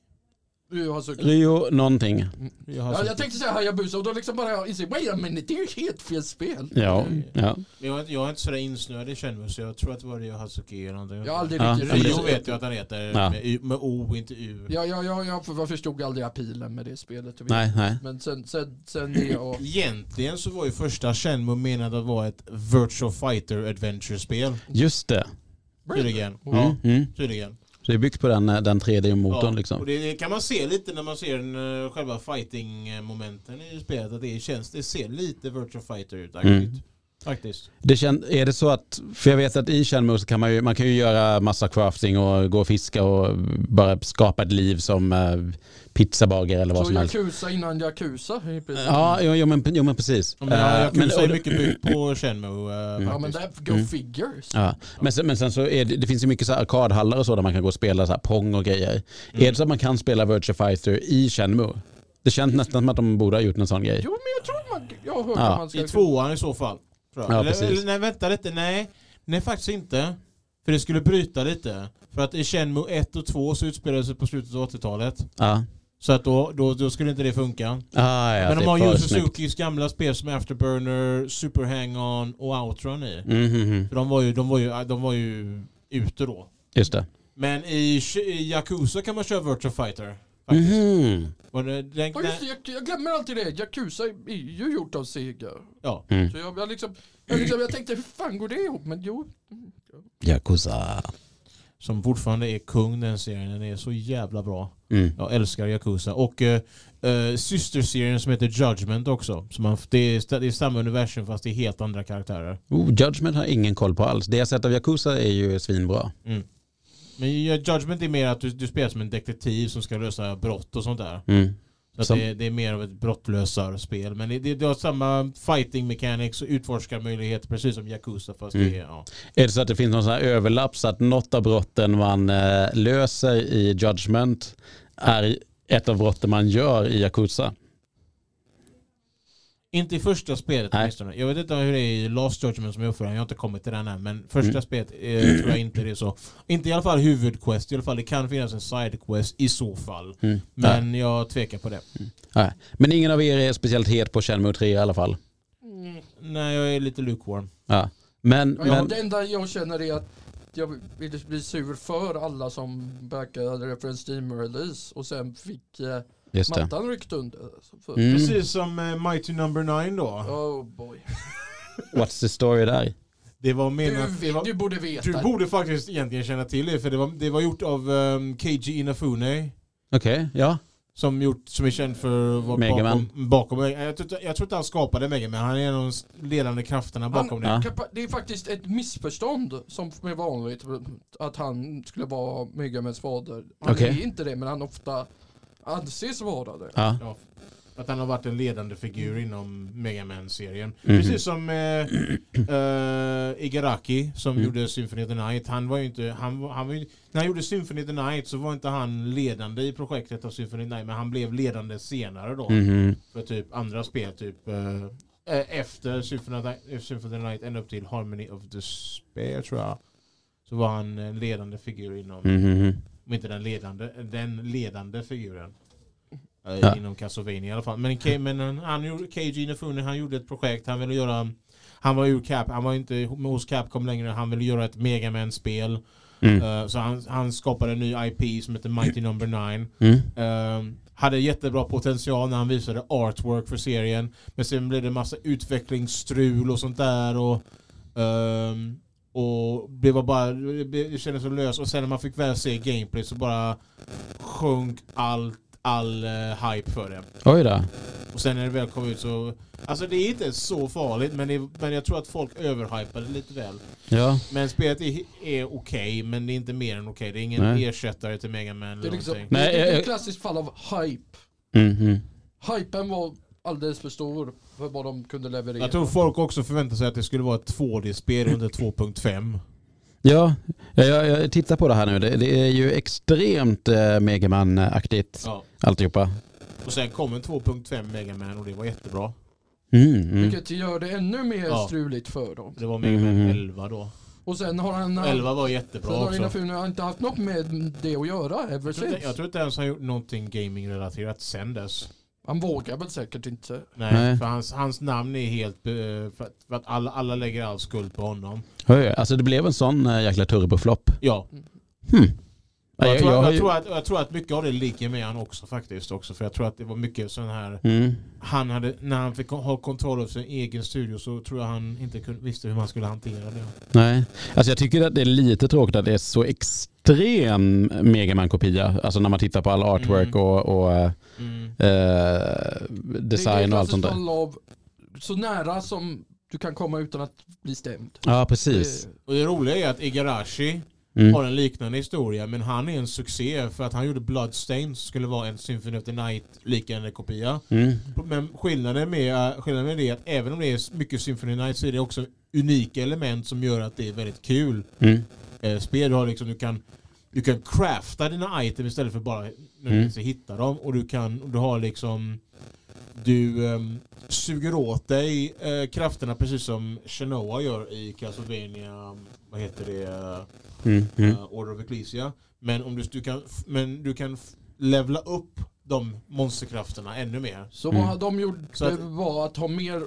Speaker 2: Du har sökt.
Speaker 1: Rio någonting.
Speaker 3: Ryo
Speaker 2: Ja, jag
Speaker 3: Hazuki.
Speaker 2: tänkte säga Hayabusa och då liksom bara inser wait a minute, det är ju helt fel spel.
Speaker 1: Ja, ja.
Speaker 3: Jag, är- jag är inte sådär insnöad i kändmus så jag tror att det var Ryo Hazuki eller någonting.
Speaker 2: Jag har aldrig
Speaker 1: Ja,
Speaker 2: riktigt...
Speaker 1: men det-
Speaker 3: Ryo vet jag att han heter
Speaker 1: Ja.
Speaker 3: med, y, med O, inte U.
Speaker 2: Ja, ja, ja, ja, för jag förstod aldrig appealen med det spelet. och vi-
Speaker 1: Nej, Mm. nej.
Speaker 2: Men sen, sen, sen det och...
Speaker 3: Egentligen så var ju första Shenmue menad att vara ett Virtual Fighter Adventure-spel.
Speaker 1: Just det.
Speaker 3: Tydligen.
Speaker 1: Mm, mm.
Speaker 3: Tydligen.
Speaker 1: Så det är byggt på den, eh, den 3D-motorn
Speaker 3: Ja, Och
Speaker 1: liksom.
Speaker 3: det det kan man se lite när man ser den, eh, själva fighting-momenten i spelet. Att det, känns, det ser lite Virtual Fighter ut
Speaker 1: Mm.
Speaker 3: faktiskt. faktiskt.
Speaker 1: Det kän, är det så att, för jag vet att i Shenmue så kan man ju, man kan ju göra massa crafting och gå och fiska och bara skapa ett liv som eh, pizzabagare eller vad
Speaker 2: Så
Speaker 1: som helst.
Speaker 2: Yakuza innan Yakuza. i princip.
Speaker 1: Ja, jo, jo, men, jo men precis.
Speaker 3: Ja, men, jag, jag
Speaker 1: Eh, men-
Speaker 3: kan säga
Speaker 1: och-
Speaker 3: mycket byggt på Shenmue eh,
Speaker 2: Ja men
Speaker 3: faktiskt.
Speaker 2: där, go
Speaker 1: Mm.
Speaker 2: figures.
Speaker 1: Ja. Men, sen, men sen så är det, det finns ju mycket så här arkadhallar och så där man kan gå och spela så här pong och grejer.
Speaker 3: Mm.
Speaker 1: Är det så att man kan spela Virtua Fighter i Shenmue? Det känns nästan som att de borde ha gjort en sån grej.
Speaker 2: Jo men jag tror man, jag har hört
Speaker 1: Ja.
Speaker 2: att man ska...
Speaker 3: I tvåan i så fall. Tror jag.
Speaker 1: Ja,
Speaker 3: eller,
Speaker 1: precis.
Speaker 3: eller, nej, vänta lite. Nej, nej faktiskt inte. För det skulle bryta lite. För att i Shenmue 1 och 2 så utspelade det sig på slutet av 80-talet.
Speaker 1: Ja.
Speaker 3: Så att då, då, då skulle inte det funka.
Speaker 1: Ah, ja,
Speaker 3: Men
Speaker 1: det
Speaker 3: de
Speaker 1: är
Speaker 3: har
Speaker 1: för
Speaker 3: ju
Speaker 1: snyggt.
Speaker 3: Suzukis gamla spel som Afterburner, Super Hang-On och Outrun i.
Speaker 1: Mhm, mhm.
Speaker 3: För de var ju, de var ju, de var ju ute då.
Speaker 1: Just det.
Speaker 3: Men i, Sh- i Yakuza kan man köra Virtual Fighter. faktiskt.
Speaker 1: Mhm.
Speaker 3: Och det- den,
Speaker 2: Ja, just det,
Speaker 3: den,
Speaker 2: jag, jag glömmer alltid det. Yakuza är ju gjort av Sega.
Speaker 3: ja.
Speaker 1: Mm.
Speaker 2: Så jag, jag, liksom, jag, liksom, jag tänkte hur fan går det ihop? Men jo.
Speaker 1: Yakuza.
Speaker 3: Som fortfarande är kung den serien. Den är så jävla bra.
Speaker 1: Mm.
Speaker 3: Jag älskar Yakuza. Och eh, eh, systerserien som heter Judgment också. Så man, det, är, det är samma universum fast det är helt andra karaktärer.
Speaker 1: Oh, Judgment har jag ingen koll på alls. Det jag sett av Yakuza är ju svinbra.
Speaker 3: Mm. Men ja, Judgment är mer att du, du spelar som en detektiv som ska lösa brott och sånt där.
Speaker 1: Mm.
Speaker 3: Så att
Speaker 1: Som-
Speaker 3: det, det är mer av ett brottlösarspel. Men det, det, det har samma fighting mechanics och utforskarmöjligheter precis som Yakuza fast
Speaker 1: Mm.
Speaker 3: det är... Ja.
Speaker 1: Är det så att det finns någon sån här överlapp så att något av brotten man eh, löser i Judgment är ett av brotten man gör i Yakuza?
Speaker 3: Inte i första spelet
Speaker 1: Nej.
Speaker 3: åtminstone. Jag vet inte hur det är i Last Judgment som är uppföljaren. Jag har inte kommit till den än. Men första
Speaker 1: Mm.
Speaker 3: spelet eh, tror jag inte det är så. Inte i alla fall huvudquest. I alla fall det kan finnas en sidequest i så fall.
Speaker 1: Mm.
Speaker 3: Men jag tvekar på det.
Speaker 1: Nej. Men ingen av er är speciellt het på Shenmue 3 i alla fall.
Speaker 3: Nej, jag är lite lukewarm.
Speaker 1: Ja. Men,
Speaker 2: Ja,
Speaker 1: men
Speaker 2: Det enda jag känner är att jag ville bli sur för alla som backade för en Steam-release och sen fick eh,
Speaker 1: just det.
Speaker 2: mattan ryckt under. Så för-
Speaker 1: Mm.
Speaker 3: som eh, Mighty Number Nine då.
Speaker 2: Oh boy.
Speaker 1: What's the story där?
Speaker 3: Det var menat...
Speaker 2: Du,
Speaker 3: det var,
Speaker 2: du borde veta.
Speaker 3: du borde faktiskt egentligen känna till det för det var, det var gjort av um, KG Inafune.
Speaker 1: Okej, ja.
Speaker 3: Som, gjort, som är känd för att vara
Speaker 1: Mega
Speaker 3: bakom... bakom jag, tror, inte- jag tror inte han skapade Mega Man, han är en av de ledande krafterna bakom det.
Speaker 1: Ja.
Speaker 2: Kapa- Det är faktiskt ett missförstånd som är vanligt att han skulle vara Megamans fader. Han
Speaker 1: Okej.
Speaker 2: är inte det men han ofta anses vara det.
Speaker 1: ja.
Speaker 3: Ja. Att han har varit en ledande figur inom Mega man serien
Speaker 1: Mhm.
Speaker 3: Precis som eh, eh, Igaraki som
Speaker 1: Mm.
Speaker 3: gjorde Symphony of the Night. Han var ju inte, han, var- han var ju, när han gjorde Symphony of the Night så var inte han ledande i projektet av Symphony of the Night men han blev ledande senare då.
Speaker 1: Mhm.
Speaker 3: För typ andra spel, typ eh, eh, efter Symphony of, the, eh, Symphony of the Night ända upp till Harmony of the Spare tror jag. Så var han en ledande figur inom
Speaker 1: Mhm.
Speaker 3: om inte den ledande, den ledande figuren. Eh,
Speaker 1: Ja. Mm.
Speaker 3: Inom Castlevania i alla fall. Men, K- men han, han gjorde, KG Inafune, han gjorde ett projekt, han ville göra han var ur Cap, han var inte hos Capcom längre, han ville göra ett Mega man spel
Speaker 1: Mm.
Speaker 3: Så han, han skapade en ny IP som heter Mighty Number Nine.
Speaker 1: Mm.
Speaker 3: Ehm, hade jättebra potential när han visade artwork för serien. Men sen blev det massa utvecklingsstrul och sånt där. Och, ehm, och det var bara, det blev- det kändes så löst. Och sen när man fick väl se gameplay så bara sjönk allt, all eh, hype för det.
Speaker 1: Oj då.
Speaker 3: Och sen när det väl kom ut så, alltså det är inte så farligt men, det, men jag tror att folk överhypade lite väl.
Speaker 1: Ja.
Speaker 3: Men spelet är, är okej men det är inte mer än okej. Det är ingen
Speaker 1: Nej.
Speaker 3: ersättare till Mega Man
Speaker 2: Det
Speaker 3: eller
Speaker 2: är liksom,
Speaker 3: någonting.
Speaker 2: det
Speaker 1: Nej,
Speaker 2: är
Speaker 1: jag-
Speaker 2: ett klassiskt fall av hype.
Speaker 1: Mhm.
Speaker 2: Hypen var alldeles för stor för vad de kunde leverera.
Speaker 3: Jag tror folk också förväntade sig att det skulle vara ett 2D-spel under 2.5.
Speaker 1: Ja, jag, jag, jag tittar på det här nu. Det, det är ju extremt eh, Megaman-aktigt
Speaker 3: Ja.
Speaker 1: alltihopa.
Speaker 3: Och sen kom en 2.5 Mega Man och det var jättebra.
Speaker 1: Mm, mm.
Speaker 2: Vilket gör det ännu mer
Speaker 3: Ja.
Speaker 2: struligt för dem.
Speaker 3: Det var Mega Man
Speaker 1: Mhm.
Speaker 3: 11 då.
Speaker 2: Och sen har han...
Speaker 3: 11 var
Speaker 2: Sen
Speaker 3: jättebra
Speaker 2: har Ina
Speaker 3: också.
Speaker 2: Funen har inte haft något med det att göra ever
Speaker 3: Jag tror, inte, jag
Speaker 2: since.
Speaker 3: tror inte ens han gjort någonting gaming-relaterat sen dess.
Speaker 2: Han vågar väl säkert inte.
Speaker 3: Nej,
Speaker 1: Nej.
Speaker 3: för hans, hans namn är helt... eh, För att, för att alla, alla lägger all skuld på honom.
Speaker 1: Oj, Alltså det blev en sån eh, jäkla turboflopp.
Speaker 3: Ja.
Speaker 1: Hmm. Ja,
Speaker 3: Jag, tror,
Speaker 1: har
Speaker 3: jag,
Speaker 1: ju-
Speaker 3: tror att, jag tror att mycket av det ligger med han också faktiskt. Också, för jag tror att det var mycket sån här...
Speaker 1: Mm.
Speaker 3: Han hade, när han fick ha kontroll över sin egen studio så tror jag han inte kunde, visste hur man skulle hantera det.
Speaker 1: Nej, alltså jag tycker att det är lite tråkigt att det är så extrem Megaman-kopia. Alltså när man tittar på all artwork
Speaker 3: Mm.
Speaker 1: och, och eh, design och allt sånt
Speaker 2: Det är
Speaker 1: där.
Speaker 2: klassiskt
Speaker 3: alltså
Speaker 2: fall av så nära som du kan komma utan att bli stämd.
Speaker 1: Ja, precis.
Speaker 2: Det-
Speaker 3: Och det roliga är att Igarashi har
Speaker 1: Mm.
Speaker 3: en liknande historia men han är en succé för att han gjorde Bloodstained som skulle vara en Symphony of the Night liknande kopia.
Speaker 1: Mm.
Speaker 3: Men skillnaden med, eh, skillnaden med det är att även om det är mycket Symphony of the Night så är det också unika element som gör att det är väldigt kul
Speaker 1: Mm.
Speaker 3: eh, spel. Du, har liksom, du, kan, du kan crafta dina items istället för bara
Speaker 1: Mm.
Speaker 3: nödvändigtvis att hitta dem. Och du, kan, och du har liksom... Du ehm, suger åt dig eh, krafterna precis som Shenoa gör i Castlevania vad heter det, eh,
Speaker 1: Mm. Mm.
Speaker 3: Order of Ecclesia. Men, om du, du kan, f- men du kan f- levla upp de monsterkrafterna ännu mer.
Speaker 2: Så
Speaker 1: Mm.
Speaker 2: vad de gjorde
Speaker 3: Så att-
Speaker 2: var att ha mer...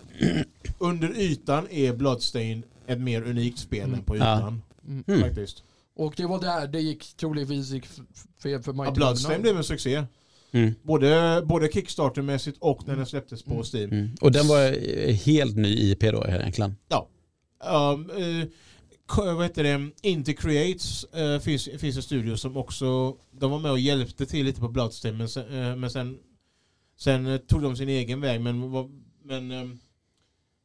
Speaker 3: Under ytan är Bloodstained ett mer unikt spel
Speaker 2: Mm.
Speaker 3: än på
Speaker 1: Ja.
Speaker 3: ytan.
Speaker 1: Mm.
Speaker 3: Faktiskt.
Speaker 2: Och det var där det gick troligtvis gick f- f- fel för
Speaker 3: Ja,
Speaker 2: Mighty
Speaker 3: Bloodstained
Speaker 2: Magna.
Speaker 3: blev en succé.
Speaker 1: Mm.
Speaker 3: Både, både Kickstarter-mässigt och när den släpptes på
Speaker 2: Mm.
Speaker 3: Steam.
Speaker 1: Mm. Och den var eh, helt ny IP då egentligen.
Speaker 3: Um, eh, k- vad heter det? Inte Creates eh, finns, finns en studio som också de var med och hjälpte till lite på Bloodstained men sen, eh, men sen, sen eh, tog de sin egen väg men, var, men ehm,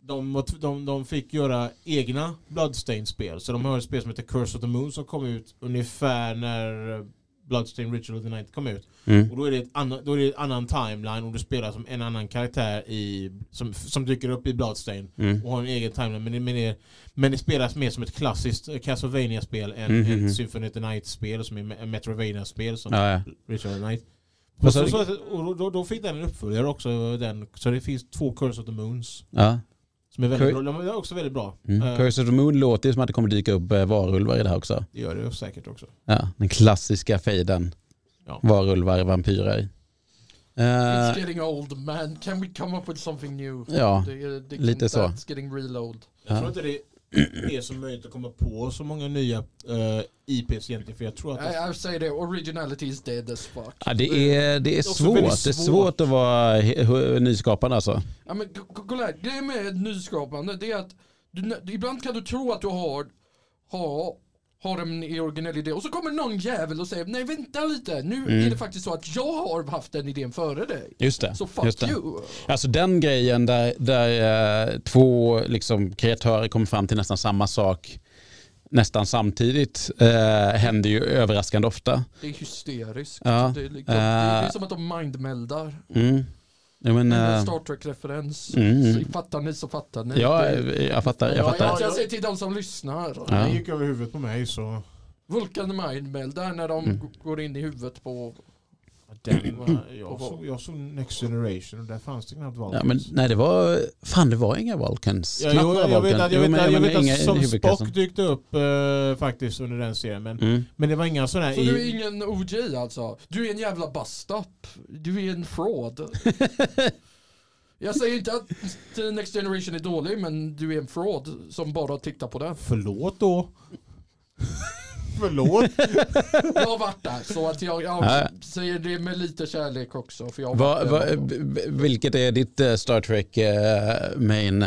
Speaker 3: de, var tv- de, de fick göra egna Bloodstained-spel så de har ett spel som heter Curse of the Moon som kom ut ungefär när eh, Bloodstained Ritual of the Night kom ut
Speaker 1: Mm.
Speaker 3: och då är det ett annan, då är det en annan timeline och du spelar som en annan karaktär i, som, som dyker upp i Bloodstained
Speaker 1: Mm.
Speaker 3: och har en egen timeline. Men det, men det, men det spelas mer som ett klassiskt eh, Castlevania-spel än
Speaker 1: Mhm, mhm.
Speaker 3: ett Symphony of the Night-spel som är me- Metroidvania-spel som
Speaker 1: Ja, ja.
Speaker 3: Richard of the Night.
Speaker 1: Vad
Speaker 3: Och,
Speaker 1: sa
Speaker 3: så,
Speaker 1: du?
Speaker 3: så, och då- då, då fick den en uppföljare också. Den, så det finns två Curse of the Moons.
Speaker 1: ja.
Speaker 3: Som är väldigt
Speaker 1: Cur-
Speaker 3: bra. De är också väldigt bra.
Speaker 1: Mm.
Speaker 3: Eh,
Speaker 1: Curse of the Moon låter ju som att det kommer dyka upp eh, varulvar i det här också.
Speaker 3: det gör det säkert också.
Speaker 1: Ja, den klassiska fejden.
Speaker 3: Ja.
Speaker 1: Varulvar, vampyrer. Eh,
Speaker 2: It's getting old man, can we come up with something new?
Speaker 1: ja,
Speaker 2: Det, är- det,
Speaker 1: lite så.
Speaker 2: That's getting real old.
Speaker 3: Jag
Speaker 1: Ja.
Speaker 3: tror inte det är så möjligt att komma på så många nya eh, IPs egentligen. För jag tror att det,
Speaker 2: I, I say det, originality is dead as fuck.
Speaker 1: ja, det är, det är
Speaker 3: också
Speaker 1: svårt.
Speaker 3: väldigt
Speaker 1: Det är svårt
Speaker 3: svårt.
Speaker 1: att vara he- hu- nyskapande alltså.
Speaker 2: Ja men k- k- kolla här, grejen med nyskapande det är att du, nä- ibland kan du tro att du har, har, har en originell idé och så kommer någon jävel och säger nej vänta lite nu
Speaker 1: Mm.
Speaker 2: är det faktiskt så att jag har haft den idén före dig.
Speaker 1: Just det.
Speaker 2: Så fuck
Speaker 1: just det.
Speaker 2: you.
Speaker 1: Alltså den grejen där, där eh, två liksom, kreatörer kommer fram till nästan samma sak nästan samtidigt eh, händer ju överraskande ofta.
Speaker 2: Det är hysteriskt.
Speaker 1: Ja,
Speaker 2: Det, är liksom,
Speaker 1: eh.
Speaker 2: det, är, det är som att de mindmeldar.
Speaker 1: Mm. Ja, men,
Speaker 2: En
Speaker 1: eh,
Speaker 2: Star Trek-referens.
Speaker 1: Mm.
Speaker 2: Så Fattar ni så fattar ni.
Speaker 1: ja,
Speaker 2: Det-
Speaker 1: eh, jag fattar. Jag
Speaker 3: Ja,
Speaker 1: fattar.
Speaker 2: jag, jag säger till de som lyssnar.
Speaker 1: Ja. Mm.
Speaker 3: det gick över huvudet på mig så...
Speaker 2: Vulkan mindmeldar när de g- går in i huvudet på...
Speaker 3: Den, var-
Speaker 2: Och
Speaker 3: jag,
Speaker 2: vad-
Speaker 3: såg, jag såg Next Generation och där fanns det knappt val.
Speaker 1: Ja, men, nej, det var... Fan, det var inga Vulcans.
Speaker 3: Ja,
Speaker 1: Knappt
Speaker 3: jo,
Speaker 1: några
Speaker 3: jag, vet
Speaker 1: Vulcans.
Speaker 3: att, jag
Speaker 1: Jo,
Speaker 3: vet
Speaker 1: men-
Speaker 3: att, jag
Speaker 1: men
Speaker 3: vet att
Speaker 1: inga
Speaker 3: som
Speaker 1: huvudkassan.
Speaker 3: Spock dykte upp eh, faktiskt under den serien. Men,
Speaker 1: Mm.
Speaker 3: men det var inga sådana här...
Speaker 2: Så du är
Speaker 3: I,
Speaker 2: ingen OG alltså? Du är en jävla bust-up. Du är en fraud. Jag säger inte att The Next Generation är dålig, men du är en fraud som bara tittar på den.
Speaker 3: förlåt då. förlåt.
Speaker 2: Jag har varit där, så att jag,
Speaker 1: Ja.
Speaker 2: jag säger det med lite kärlek också. För jag har
Speaker 1: Va,
Speaker 2: varit
Speaker 1: va,
Speaker 2: där.
Speaker 1: v- v- vilket är ditt eh, Star Trek eh, main?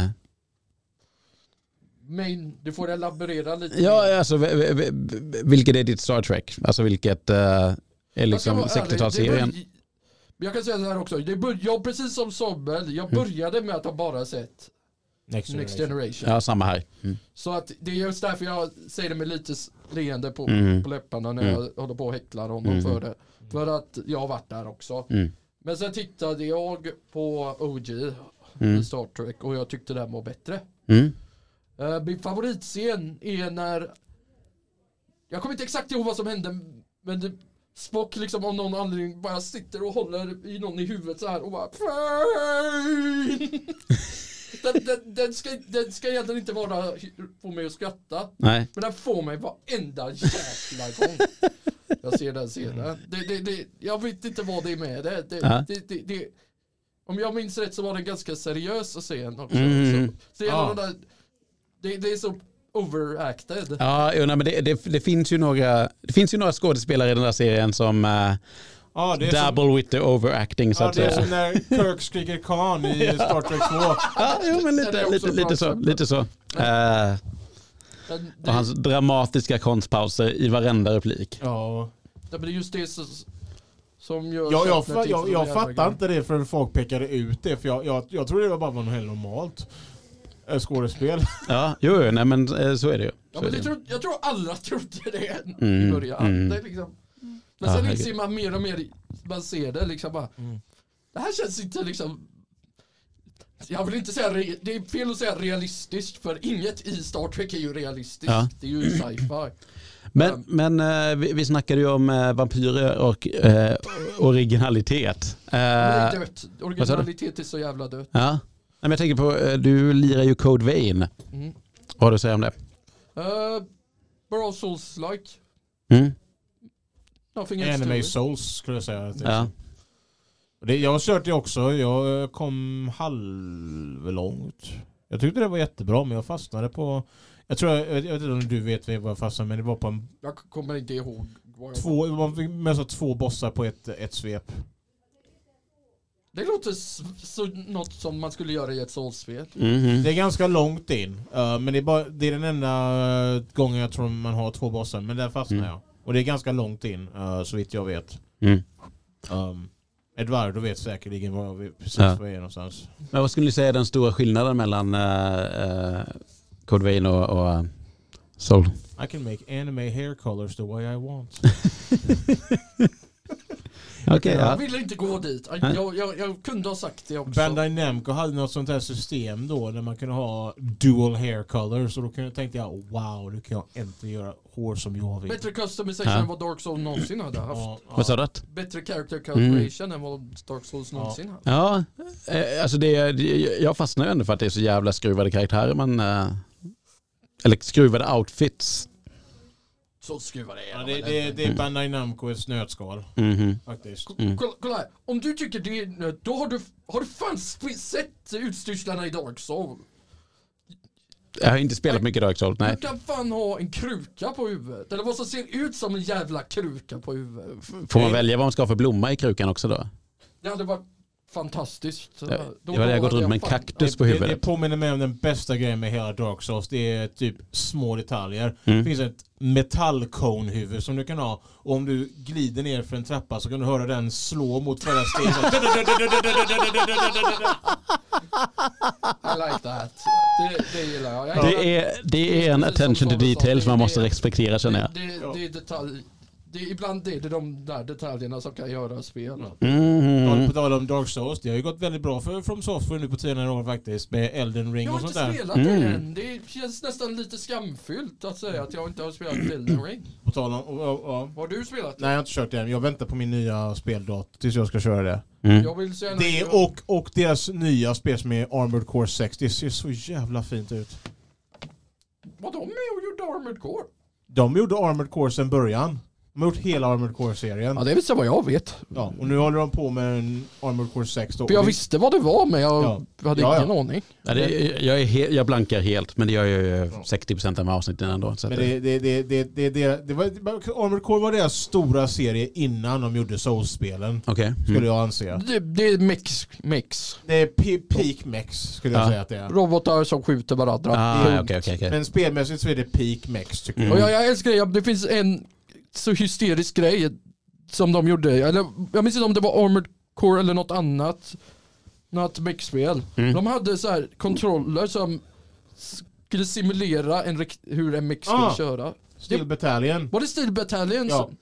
Speaker 2: Men du får elaborera lite. mer.
Speaker 1: Ja, alltså v- v- v- vilket är ditt Star Trek? Alltså vilket eh, är
Speaker 2: Jag ska
Speaker 1: liksom
Speaker 2: vara ärlig, det
Speaker 1: 60-talsserien?
Speaker 2: börj- Jag kan säga så här också, det bör, jag precis som Sommel,
Speaker 1: Mm.
Speaker 2: jag började med att ha bara sett
Speaker 3: Next
Speaker 2: Next
Speaker 3: Generation.
Speaker 2: Generation.
Speaker 1: Ja, samma här. Mm.
Speaker 2: Så att det är just därför jag säger det med lite s- leende
Speaker 3: Oh,
Speaker 2: på,
Speaker 1: Mm.
Speaker 2: på läpparna när jag håller på och häcklar honom
Speaker 1: Mm.
Speaker 2: för det. För att jag har varit där också.
Speaker 1: Mm.
Speaker 2: Men sen tittade jag på OG
Speaker 1: Mm.
Speaker 2: i Star Trek och jag tyckte den var bättre.
Speaker 1: Mm.
Speaker 2: Eh, min favoritscen är när jag kommer inte exakt ihåg vad som hände men det, Spock liksom av någon anledning bara sitter och håller i någon i huvudet så här och bara Den, den, den, ska, den ska egentligen inte vara få mig att skratta.
Speaker 1: Nej.
Speaker 2: Men den får mig varenda jävla gång. Jag ser den, ser
Speaker 3: Mm.
Speaker 2: den. Det, det, det, jag vet inte vad det är med det. det,
Speaker 1: Ja.
Speaker 2: det, det, det om jag minns rätt så var den ganska seriös att se en också.
Speaker 1: Mm.
Speaker 2: Så, så hela
Speaker 3: Ja.
Speaker 2: den där, det, det är så overacted.
Speaker 1: Ja, jo, nej, men det, det, det, finns ju några, det finns ju några skådespelare i den här serien som eh,
Speaker 3: Ja, det är, som,
Speaker 1: dabble with the overacting så
Speaker 3: ja,
Speaker 1: att
Speaker 3: det är
Speaker 1: säga.
Speaker 3: som när Kirk skriker Khan i Star Trek 2.
Speaker 1: Ja, jo, men
Speaker 2: Den är
Speaker 1: lite,
Speaker 2: också
Speaker 1: lite, lite
Speaker 2: bra
Speaker 1: så.
Speaker 2: exempel.
Speaker 1: Lite så. Eh,
Speaker 2: Den, det,
Speaker 1: och hans dramatiska konstpauser i varenda replik.
Speaker 3: Ja.
Speaker 2: det, det är just det som, som gör
Speaker 3: Jag, jag,
Speaker 2: sakerna
Speaker 3: jag,
Speaker 2: till så
Speaker 3: jag, jag
Speaker 2: jävla
Speaker 3: fattar
Speaker 2: grejer.
Speaker 3: inte det förrän folk pekade ut det. För jag, jag, jag trodde det var bara var något helt normalt eh, skådespel.
Speaker 1: Ja, jo, jo, nej, men eh, så är det ju.
Speaker 2: Ja,
Speaker 1: Så är det
Speaker 2: men det
Speaker 1: ju.
Speaker 2: tror, jag tror alla trodde det i
Speaker 1: Mm,
Speaker 2: början.
Speaker 1: mm.
Speaker 2: Det är liksom. Men
Speaker 1: Ja,
Speaker 2: sen
Speaker 1: herregud.
Speaker 2: inser man mer och mer, man ser det liksom bara.
Speaker 3: Mm.
Speaker 2: Det här känns inte liksom. Jag vill inte säga, re- det är fel att säga realistiskt för inget i Star Trek är ju realistiskt.
Speaker 1: Ja. Eh,
Speaker 2: Det är ju sci-fi.
Speaker 1: Men, men eh, vi, vi snackade ju om eh, vampyrer och eh, originalitet. Eh,
Speaker 2: Men det är dött.
Speaker 1: du?
Speaker 2: Originalitet är så jävla dött.
Speaker 1: ja. Nej, men jag tänker på, eh, du lirar ju Code Vein.
Speaker 2: Mm.
Speaker 1: Vad har du att säga om det?
Speaker 2: Eh, bra souls-like.
Speaker 1: Mm?
Speaker 2: Nothing else to
Speaker 3: Anime
Speaker 2: it.
Speaker 3: Souls skulle jag säga. att det är.
Speaker 1: Ja.
Speaker 3: Och Det, jag har kört det också. Jag eh, kom halvlångt. Jag tyckte det var jättebra men jag fastnade på... Jag tror, jag, jag vet inte om du vet vad jag fastnade men det var på en,
Speaker 2: Jag kommer inte ihåg. vad jag-
Speaker 3: två, man fick med sig två bossar på ett, ett svep.
Speaker 2: Det låter s- så, något som man skulle göra i ett souls-spel.
Speaker 1: Mhm.
Speaker 3: Det är ganska långt in. eh, men det är, bara, det är den enda eh, gången jag tror man har två bossar. Men där fastnade
Speaker 1: Mm.
Speaker 3: jag. Och det är ganska långt in eh, så vitt jag vet.
Speaker 1: Mm.
Speaker 3: Um, Eduardo vet säkerligen var jag vet, precis
Speaker 1: Ja.
Speaker 3: var jag är någonstans.
Speaker 1: Men vad skulle ni säga är den stora skillnaden mellan eh, eh, Code Vein och, och eh, Soul?
Speaker 3: I can make anime hair colors the way I want.
Speaker 1: Okej,
Speaker 2: Jag
Speaker 1: ja.
Speaker 2: ville inte gå dit. Jag,
Speaker 1: Nej.
Speaker 2: jag, jag, jag kunde ha sagt det också.
Speaker 3: Bandai Namco hade något sånt här system då där man kunde ha dual hair colors och då kunde- tänkte jag wow, nu kan jag äntligen göra hår som jag vill.
Speaker 2: Bättre customization
Speaker 1: Ja.
Speaker 2: än vad Dark Souls någonsin hade haft.
Speaker 3: Ja, ja.
Speaker 1: Vad sa du?
Speaker 2: Bättre character
Speaker 1: Mm.
Speaker 2: calculation än vad Dark Souls någonsin haft.
Speaker 1: Ja, eh, alltså det, är- det- jag fastnar ju ändå för att det är så jävla skruvade karaktärer man... eh, Eller skruvade outfits.
Speaker 2: Så skruvar det,
Speaker 3: Ja,
Speaker 2: igenom
Speaker 3: det,
Speaker 2: en
Speaker 3: det,
Speaker 2: helvete.
Speaker 1: Mm.
Speaker 3: det är Bandai Namco i ett snötskal
Speaker 1: Mhm.
Speaker 3: faktiskt.
Speaker 2: K- Kolla, kolla här. Om du tycker det är nöd- då har du, har du fan sp- sett utstyrslarna i Dark Souls.
Speaker 1: Jag har inte spelat mycket Dark Souls, nej.
Speaker 2: Du kan fan ha en kruka på huvudet. Eller vad som ser ut som en jävla kruka på huvudet.
Speaker 1: Får man välja vad man ska ha för blomma i krukan också då?
Speaker 2: Det hade varit fantastiskt.
Speaker 1: Det
Speaker 2: Då-
Speaker 1: det var det
Speaker 2: då
Speaker 1: jag gått
Speaker 2: hade
Speaker 1: runt med en
Speaker 2: fan-
Speaker 1: kaktus
Speaker 3: Det-
Speaker 1: på
Speaker 3: Det, det
Speaker 1: huvudet.
Speaker 3: påminner mig om den bästa grejen med hela Dark Souls. Det är typ små detaljer.
Speaker 1: Mm.
Speaker 3: Det finns ett metallkonhuvud som du kan ha. Och om du glider ner för en trappa så kan du höra den slå mot förra stegen.
Speaker 2: I like that. Det, det gillar jag. jag gillar-
Speaker 1: Det är, det är en attention to details man måste respektera känner jag.
Speaker 2: Det, det,
Speaker 3: Ja.
Speaker 2: det är detalj. Det är, ibland är det de där detaljerna som kan göra spel.
Speaker 1: Mhm.
Speaker 3: På tal om Dark Souls, det har ju gått väldigt bra för From Software nu på senare år faktiskt. Med Elden Ring
Speaker 2: Jag
Speaker 3: och
Speaker 2: har
Speaker 3: sånt
Speaker 2: inte
Speaker 3: där.
Speaker 2: spelat det
Speaker 1: Mm.
Speaker 2: än. Det känns nästan lite skamfyllt att säga att jag inte har spelat Elden Ring.
Speaker 3: På tal om... Och, och, och.
Speaker 2: Har du spelat det?
Speaker 3: Nej jag har inte kört det än. Jag väntar på min nya speldator tills jag ska köra det.
Speaker 1: Mm.
Speaker 2: Jag vill säga
Speaker 3: Det och, och deras nya spel som är Armored Core 6. Det ser så jävla fint ut.
Speaker 2: Vad de är och gjorde Armored Core.
Speaker 3: De gjorde Armored Core sedan början. De har gjort hela Armored Core-serien.
Speaker 2: det är väl så vad jag vet.
Speaker 3: Ja, och nu håller de på med en Armored Core 6 då.
Speaker 2: För jag visste vad det var men jag
Speaker 3: Ja.
Speaker 2: hade
Speaker 3: Ja, ja.
Speaker 2: ingen aning.
Speaker 1: Ja, det, jag, är he- jag blankar helt, men det gör jag ju 60% av avsnitten ändå. Så att
Speaker 3: Men det, det, det, det, det, det, det var, Armored Core var deras stora serie innan de gjorde Souls-spelen.
Speaker 1: Okej.
Speaker 3: Skulle
Speaker 1: Mm.
Speaker 3: jag anse.
Speaker 2: Det, det är mix, mix.
Speaker 3: Det är pe- peak mex skulle jag
Speaker 1: Ja.
Speaker 3: säga att det är.
Speaker 2: Robotar som skjuter varandra.
Speaker 1: Ah, okej, okej, okej.
Speaker 3: Men spelmässigt så är det peak mex tycker
Speaker 1: Mm.
Speaker 2: Och jag, jag älskar det, det finns en så hysterisk grej som de gjorde. Eller, jag minns inte om det var Armored Core eller något annat. Något mech-spel.
Speaker 1: Mm.
Speaker 2: De hade så här kontroller som skulle simulera en rikt- hur en mech skulle
Speaker 3: Ah.
Speaker 2: köra.
Speaker 3: jag. Steel Battalion.
Speaker 2: Var det Steel Battalion?
Speaker 3: Ja.
Speaker 2: som-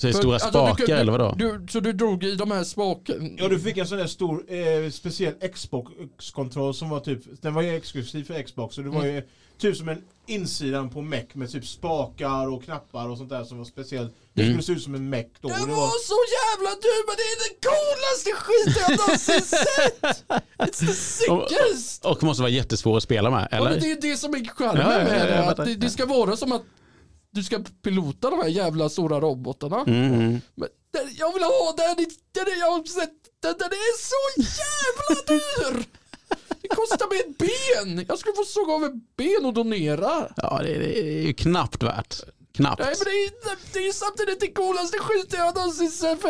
Speaker 1: Så det är
Speaker 2: för-
Speaker 1: stora
Speaker 2: alltså, du
Speaker 1: spakar
Speaker 2: kunde-
Speaker 1: eller vadå?
Speaker 2: Du, så du drog i de här spaken?
Speaker 3: Ja du fick en sån där stor eh, speciell Xbox-kontroll som var typ, den var ju exklusiv för Xbox så det var ju typ som en insidan på Mech med typ spakar och knappar och sånt där som var speciellt. Det
Speaker 1: Mm.
Speaker 3: skulle se ut som en Mech då. och
Speaker 2: Det var så jävla dumt, men det är den coolaste skiten jag någonsin sett! Ett It's the sickest!
Speaker 1: Och måste vara jättesvår att spela med,
Speaker 2: Ja,
Speaker 1: eller?
Speaker 2: men det är det som är charmen
Speaker 1: Ja, ja, ja,
Speaker 2: med
Speaker 1: jag
Speaker 2: det.
Speaker 1: fattar.
Speaker 2: Att det. Det ska vara som att du ska pilota de här jävla stora robotarna.
Speaker 1: Mm, mm.
Speaker 2: Men den, jag vill ha den, i- den, är- jag har sett, den, den är så jävla dyr! Det kostar mig ett ben! Jag skulle få såga av ett ben och donera.
Speaker 1: Ja, det, det är ju knappt värt. Knappt.
Speaker 2: Nej men det är, det är samtidigt det coolaste skylten jag någonsin sett för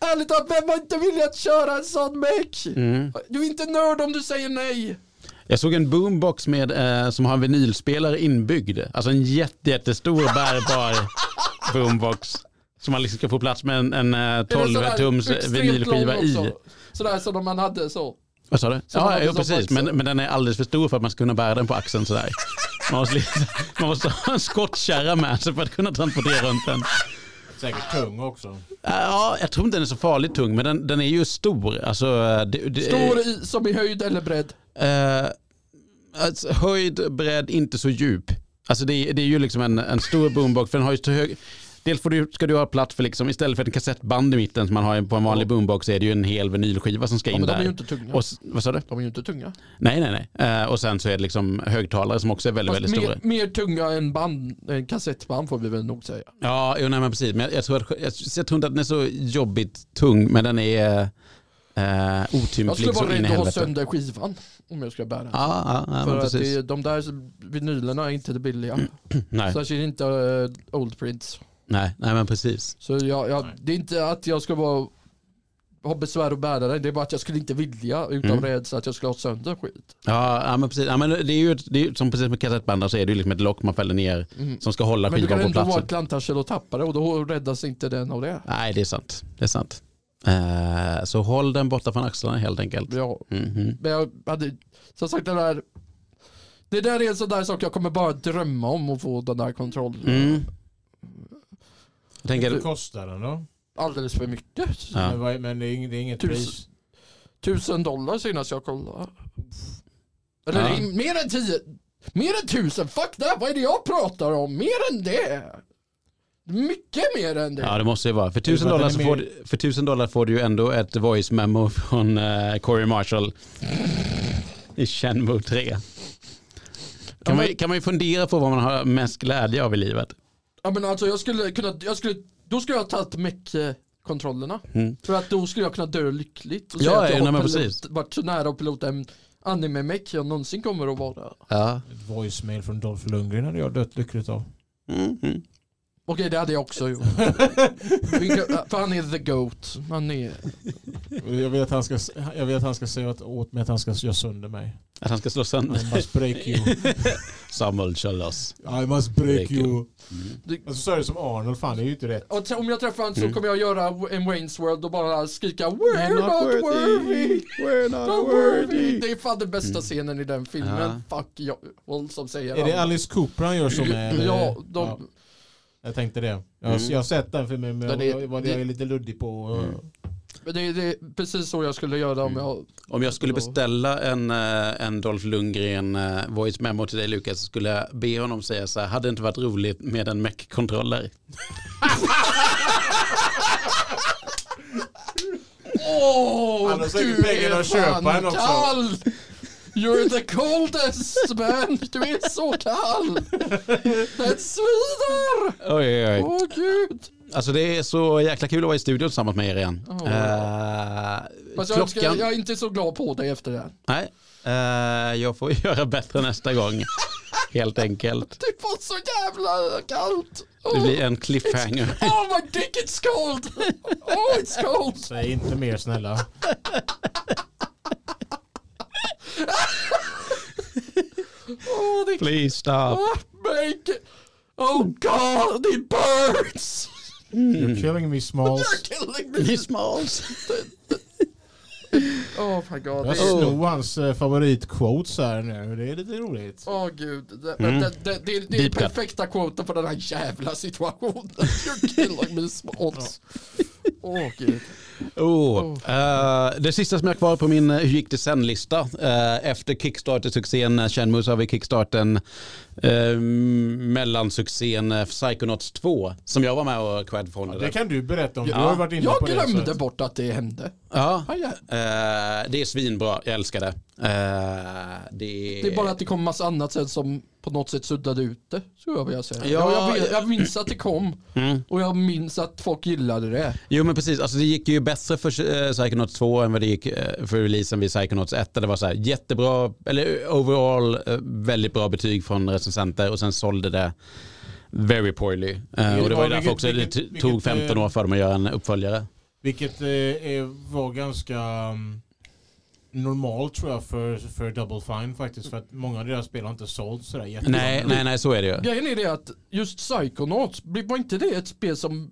Speaker 2: ärligt talat, vem har inte velat köra en sån mech?
Speaker 1: Mm.
Speaker 2: Du är inte nörd om du säger nej.
Speaker 1: Jag såg en boombox med, eh, som har en vinylspelare inbyggd. Alltså en jätte, jättestor bärbar boombox. Som man liksom ska få plats med en, en eh,
Speaker 2: Är det sån här
Speaker 1: 12-tums
Speaker 2: extremt
Speaker 1: vinylskiva
Speaker 2: lång
Speaker 1: i.
Speaker 2: också? Sådär som man hade så.
Speaker 1: Vad sa du?
Speaker 2: man
Speaker 1: Ja,
Speaker 2: hade
Speaker 1: ja
Speaker 2: som
Speaker 1: precis.
Speaker 2: boxer.
Speaker 1: Men, men den är alldeles för stor för att man ska kunna bära den på axeln sådär. Man måste, liksom, man måste ha en skottkärra med sig för att kunna transportera runt den.
Speaker 3: Säkert tung också.
Speaker 1: Ja, jag tror inte den är så farligt tung, men den, den är ju stor. Alltså, eh, det, det,
Speaker 2: Stor i, som i höjd eller bredd.
Speaker 1: Eh, alltså, höjd, bredd, inte så djup. Alltså det, är- det är ju liksom en, en stor boombox. För den har ju så hög, dels får du, ska du ha plats för, liksom, istället för ett kassettband i mitten som man har på en vanlig boombox, är det ju en hel vinylskiva som ska
Speaker 2: Ja,
Speaker 1: in
Speaker 2: men de
Speaker 1: där.
Speaker 2: är ju inte tunga.
Speaker 1: och, s- vad sa du?
Speaker 2: De är ju inte tunga.
Speaker 1: Nej, nej, nej. Eh, och sen så är det liksom högtalare som också är väldigt,
Speaker 2: Fast
Speaker 1: väldigt stora.
Speaker 2: mer, mer tunga än band, än kassettband får vi väl nog säga.
Speaker 1: Ja, jo, nej, men precis. Men jag, jag, tror att, jag, jag tror inte att den är så jobbigt tung, men den är eh,
Speaker 2: Jag skulle
Speaker 1: otymplig så
Speaker 2: vara
Speaker 1: in i
Speaker 2: rädd att ha
Speaker 1: helvete.
Speaker 2: sönder skivan om jag ska bära den.
Speaker 1: Ja, ja, ja
Speaker 2: För
Speaker 1: men
Speaker 2: att
Speaker 1: precis. Mm,
Speaker 2: det, de där vinylerna är inte det billiga.
Speaker 1: Nej,
Speaker 2: Särskilt inte eh, old prints.
Speaker 1: nej, nej, men precis.
Speaker 2: Så jag, jag,
Speaker 3: Nej.
Speaker 2: det är inte att jag ska vara, ha besvär att bära den. Det är bara att jag skulle inte vilja utan
Speaker 1: Mm.
Speaker 2: rädsla att jag skulle ha sönder skit.
Speaker 1: Ja, ja men precis. Ja, men det är ju, ett- det är, ju- som precis med kassettband så är det ju liksom ett lock man fäller ner
Speaker 2: Mm.
Speaker 1: som ska hålla
Speaker 2: Men du kan
Speaker 1: skivan på
Speaker 2: ändå vara
Speaker 1: platsen.
Speaker 2: ett klantarsel och tappa det och då räddas inte den av det.
Speaker 1: Nej, det är sant. Det är sant. Eh, så håll den borta från axlarna helt enkelt.
Speaker 2: Ja,
Speaker 1: Mhm.
Speaker 2: men jag hade, som sagt det där, det där är en sån där sak jag kommer bara drömma om att få den där kontrollen.
Speaker 1: Mm. Jag
Speaker 3: Vad
Speaker 1: tänker,
Speaker 3: kostar den då?
Speaker 2: Alldeles för mycket.
Speaker 1: ja.
Speaker 3: Men, vad är- men det är inget, det är inget
Speaker 2: Tusen.
Speaker 3: pris.
Speaker 2: Tusen dollar senast jag kollade. Eller
Speaker 1: Ja.
Speaker 2: det är mer än tio. Mer än tusen. Fuck det. Vad är det jag pratar om? Mer än det. Mycket mer än det.
Speaker 1: ja, det måste ju vara. För
Speaker 3: Det är
Speaker 1: tusen
Speaker 3: bara
Speaker 1: dollar,
Speaker 3: den
Speaker 1: så
Speaker 3: är
Speaker 1: får,
Speaker 3: mer-
Speaker 1: du- för tusen dollar får du ju ändå ett voice memo från eh, Corey Marshall i Shenmue 3. Kan man, ju- kan man ju fundera på vad man har mest glädje av i livet.
Speaker 2: Ja, men alltså, jag skulle kunna, jag skulle, då skulle jag ha tagit mech-kontrollerna.
Speaker 1: Mm.
Speaker 2: För att då skulle jag kunna dö lyckligt. Och
Speaker 1: Ja,
Speaker 2: säga att jag
Speaker 1: ja,
Speaker 2: har
Speaker 1: nej, men
Speaker 2: pilot-
Speaker 1: precis.
Speaker 2: varit så nära att pilota en anime-mech jag någonsin kommer att vara.
Speaker 1: Ja.
Speaker 3: Ett voicemail från Dolph Lundgren hade jag dött lyckligt av.
Speaker 1: Mhm.
Speaker 2: Okej, det hade jag också gjort. Vilka- För han är the GOAT. Han är...
Speaker 3: Jag vet att han ska, jag vet att han ska säga åt- åt mig att han ska göra sönder mig.
Speaker 1: Att han ska slå sönder.
Speaker 3: I must break you.
Speaker 1: Samuel Chalas.
Speaker 3: I must break you.
Speaker 2: Det-
Speaker 3: Alltså så är det som Arnold, fan det är ju inte rätt.
Speaker 2: Och t- om jag träffar honom så
Speaker 1: Mm.
Speaker 2: kommer jag göra en Wayne's World och bara skrika We're not, worthy!
Speaker 1: We're
Speaker 2: Not worthy! Mm. Det är fan den bästa scenen i den filmen. Fuck jag, hon som säger
Speaker 3: Är det
Speaker 2: han.
Speaker 3: Alice Cooper han gör så med? eller?
Speaker 2: Ja, de,
Speaker 3: Ja, jag tänkte det. Jag, har-
Speaker 1: Mm.
Speaker 3: jag har sett den filmen men
Speaker 2: Den
Speaker 3: jag,
Speaker 2: är-
Speaker 3: jag, var-
Speaker 2: det-
Speaker 3: jag är lite luddig på.
Speaker 1: Mm.
Speaker 2: men Det, det är precis så jag skulle göra om jag...
Speaker 1: Om jag skulle beställa en, eh, en Dolph Lundgren eh, voice memo till dig Lukas så skulle jag be honom säga så här, hade det inte varit roligt med en Mac-kontroller?
Speaker 2: Åh,
Speaker 3: Han har säkert
Speaker 2: du
Speaker 3: pengarna
Speaker 2: är
Speaker 3: att köpa
Speaker 2: fan
Speaker 3: en också.
Speaker 2: kall! You're the coldest man! Du är så kall! Det svider!
Speaker 1: Oj, oj,
Speaker 2: Åh gud!
Speaker 1: Alltså det är så jäkla kul att vara i studion tillsammans med er igen.
Speaker 2: Ja.
Speaker 1: Eh,
Speaker 2: Oh. Fast jag, önskar,
Speaker 1: klockan...
Speaker 2: jag är inte så glad på dig efter det här.
Speaker 1: Nej, eh, jag får göra bättre nästa gång. Helt enkelt.
Speaker 2: Det var så jävla kallt!
Speaker 1: Det
Speaker 2: Åh.
Speaker 1: blir en cliffhanger.
Speaker 2: Oh my dick it's cold! Oh it's cold!
Speaker 3: Säg inte mer snälla.
Speaker 2: Oh det är
Speaker 1: Please stop.
Speaker 2: oh, make it. Oh god it burns! Mm.
Speaker 3: You're killing me
Speaker 2: You're
Speaker 3: smalls.
Speaker 2: killing me! Oh my god.
Speaker 3: Jag
Speaker 2: det är-
Speaker 3: snor hans eh, favoritquotes här nu. Det är lite roligt.
Speaker 2: Åh gud, det, men det, det, det, det är
Speaker 1: Deep cut.
Speaker 2: perfekta kvoten för den här jävla situationen. You're killing me smalls. Åh Åh gud.
Speaker 1: Oh. Eh, det sista som jag har kvar på min eh, hur gick det sen-lista eh, efter Kickstarter-succén eh, Shenmue så har vi Kickstarten uh, mellansuccén eh, Psychonauts 2 som jag var med och crowdfundade.
Speaker 3: Det kan du berätta om. Du har ju varit inne
Speaker 2: Jag
Speaker 3: på det. så
Speaker 2: glömde
Speaker 3: att-
Speaker 2: bort att det hände.
Speaker 1: Ja,
Speaker 2: Aj, aj.
Speaker 1: eh, det är svinbra, jag älskar det. Eh, det,
Speaker 2: Det är bara att det kom massa annat sen som på något sätt suddade ut det. Skulle jag vilja säga.
Speaker 1: Ja, eh,
Speaker 2: Ja, jag, vet- jag minns att det kom
Speaker 1: Mm.
Speaker 2: och jag minns att folk gillade det.
Speaker 1: Jo men precis, alltså, det gick ju bättre för eh, Psychonauts 2 än vad det gick eh, för releasen vid Psychonauts 1. Där det var så här jättebra, eller eh, overall eh, väldigt bra betyg från recensenter och sen sålde det very poorly. Eh, och det var ju
Speaker 3: var-
Speaker 1: därför
Speaker 3: vilket-
Speaker 1: också
Speaker 3: vilket-
Speaker 1: det t- tog
Speaker 3: vilket, eh,
Speaker 1: 15 år för dem att göra en uppföljare.
Speaker 3: Vilket eh, är, var ganska um, normalt tror jag för, för Double Fine faktiskt. För att många av deras spel har inte sålts sådär jättebra.
Speaker 1: Nej, nej, nej så är det ju.
Speaker 2: Grejen är det att just Psychonauts, var inte det ett spel som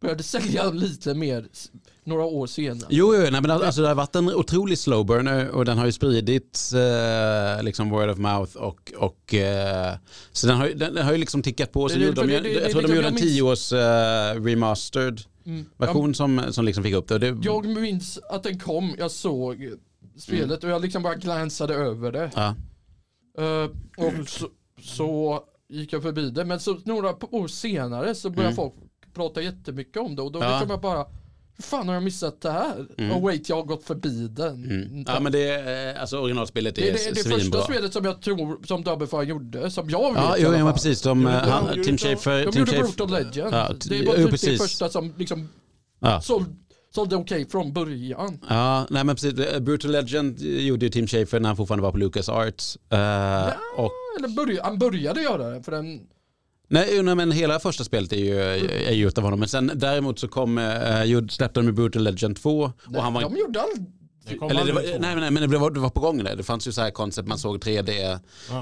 Speaker 2: började sälja lite mer s- några år senare?
Speaker 1: Jo, jo nej, men alltså, det har varit en otrolig slow burner och den har ju spridits eh, liksom word of mouth och, och eh, så den har, ju- den har ju liksom tickat på. Så
Speaker 2: Det- det-
Speaker 1: gjorde de,
Speaker 2: det- det-
Speaker 1: ju-
Speaker 2: det-
Speaker 1: jag tror de
Speaker 2: det-
Speaker 1: gjorde en
Speaker 2: jag minns-
Speaker 1: 10 års eh, remastered.
Speaker 2: Mm.
Speaker 1: version som, som liksom fick upp det. Och det
Speaker 2: Jag minns att den kom, jag såg spelet och jag liksom bara glansade över det.
Speaker 1: ja.
Speaker 2: Eh, och så, så gick jag förbi det. Men så några p- år senare så började
Speaker 1: Mm.
Speaker 2: folk prata jättemycket om det. Och då
Speaker 1: Ja.
Speaker 2: liksom jag bara, hur fan har jag missat det här?
Speaker 1: Mm.
Speaker 2: Och wait, jag har gått förbi den.
Speaker 1: Mm.
Speaker 2: Tack.
Speaker 1: ja, men det är, eh, alltså originalspelet
Speaker 2: det är
Speaker 1: är
Speaker 2: det, det
Speaker 1: svinbra.
Speaker 2: första spelet som jag tror som Double Fire gjorde, som jag vet
Speaker 1: Ja,
Speaker 2: i
Speaker 1: jo,
Speaker 2: alla
Speaker 1: ja men
Speaker 2: fall.
Speaker 1: precis. De, eh,
Speaker 3: Jo, de
Speaker 1: han,
Speaker 3: gjorde
Speaker 1: Tim
Speaker 3: inte-
Speaker 1: Schafer.
Speaker 2: De
Speaker 1: Tim
Speaker 2: gjorde
Speaker 1: Schafer.
Speaker 2: Brutal Legend.
Speaker 1: Ja,
Speaker 2: det var
Speaker 1: jo,
Speaker 2: typ
Speaker 1: precis.
Speaker 2: det första som liksom
Speaker 1: Ja.
Speaker 2: såld, sålde okej från början.
Speaker 1: Ja, nej men precis. Eh, Brutal Legend gjorde ju Tim Schafer när han fortfarande var på Lucas Arts. eh, och,
Speaker 2: Eller börja, han började göra det för den,
Speaker 1: nej, jo, nej, men hela första spelet är ju, eh, är ju utav honom. Men sen däremot så kom, eh, gjorde- släppte de ju Brutal Legend 2 och han var
Speaker 2: de gjorde all,
Speaker 3: Det kom
Speaker 1: eller det var,
Speaker 3: aldrig
Speaker 1: nej,
Speaker 3: två.
Speaker 1: men- nej men det var, det var på gång det. Det fanns ju så här koncept, man såg 3D-grejer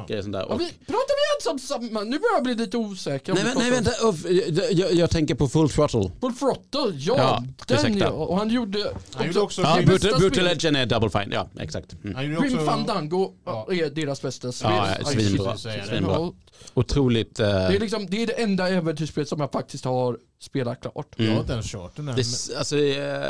Speaker 3: Ja.
Speaker 1: sånt där.
Speaker 2: ja,
Speaker 1: Och-
Speaker 2: vi, pratar vi ens om samma? Nu börjar jag bli lite osäker. om
Speaker 1: Nej,
Speaker 2: vi
Speaker 1: men,
Speaker 2: pratar
Speaker 1: nej
Speaker 2: om-
Speaker 1: vänta, Uff, jag, jag, jag tänker på Full Throttle.
Speaker 2: Full Throttle, ja,
Speaker 1: Ja,
Speaker 2: den
Speaker 1: ursäkta.
Speaker 2: ja. Och han gjorde...
Speaker 3: Han gjorde också
Speaker 1: Ja,
Speaker 3: Grim-
Speaker 2: bästa
Speaker 1: Brutal, Brutal
Speaker 2: spelet-
Speaker 1: Legend är Double Fine, ja exakt. Mm.
Speaker 3: Han gjorde
Speaker 2: Grim
Speaker 3: också-
Speaker 2: Fandango
Speaker 3: Ja.
Speaker 2: är deras bästa spel.
Speaker 1: Ja, ja, svinbra.
Speaker 3: precis, säger jag det.
Speaker 1: svinbra.
Speaker 2: Ja,
Speaker 1: Otroligt. eh,
Speaker 2: Det är, liksom, det är det enda äventyrsspelet som jag faktiskt har spelat klart.
Speaker 1: Mm.
Speaker 3: Jag har inte ens kört den
Speaker 1: det, är
Speaker 3: här.
Speaker 1: s- alltså, eh,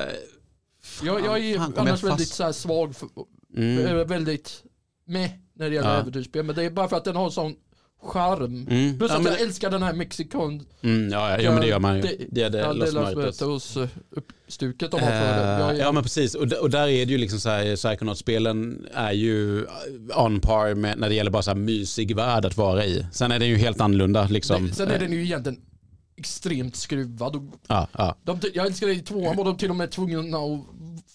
Speaker 2: Jag, jag är
Speaker 1: fan, kom jag
Speaker 2: annars
Speaker 1: fast?
Speaker 2: väldigt så här svag, för,
Speaker 1: mm,
Speaker 2: eh, väldigt meh när det gäller
Speaker 1: Ja.
Speaker 2: äventyrsspel. Men det är bara för att den har sån charm.
Speaker 1: mm.
Speaker 2: Plus
Speaker 1: Ja,
Speaker 2: att
Speaker 1: men,
Speaker 2: jag älskar den här mexikan.
Speaker 1: mm, ja, ja, ja, men det gör man ju.
Speaker 2: Det-
Speaker 1: Det är det,
Speaker 2: Ja,
Speaker 1: Los
Speaker 2: Los
Speaker 1: Muertos.
Speaker 2: Muertos eh, uppstuket de har för det.
Speaker 1: Eh,
Speaker 2: Jag är-
Speaker 1: Ja men precis, och, d- och där är det ju liksom så här, Psychonaut-spelen är ju eh, on par med när det gäller bara så här mysig värld att vara i. Sen är den ju helt annorlunda liksom.
Speaker 2: det, sen är den ju egentligen extremt skruvad och
Speaker 1: Ja, ja.
Speaker 2: De, ty- jag älskar det i tvåan var de till och med tvungna att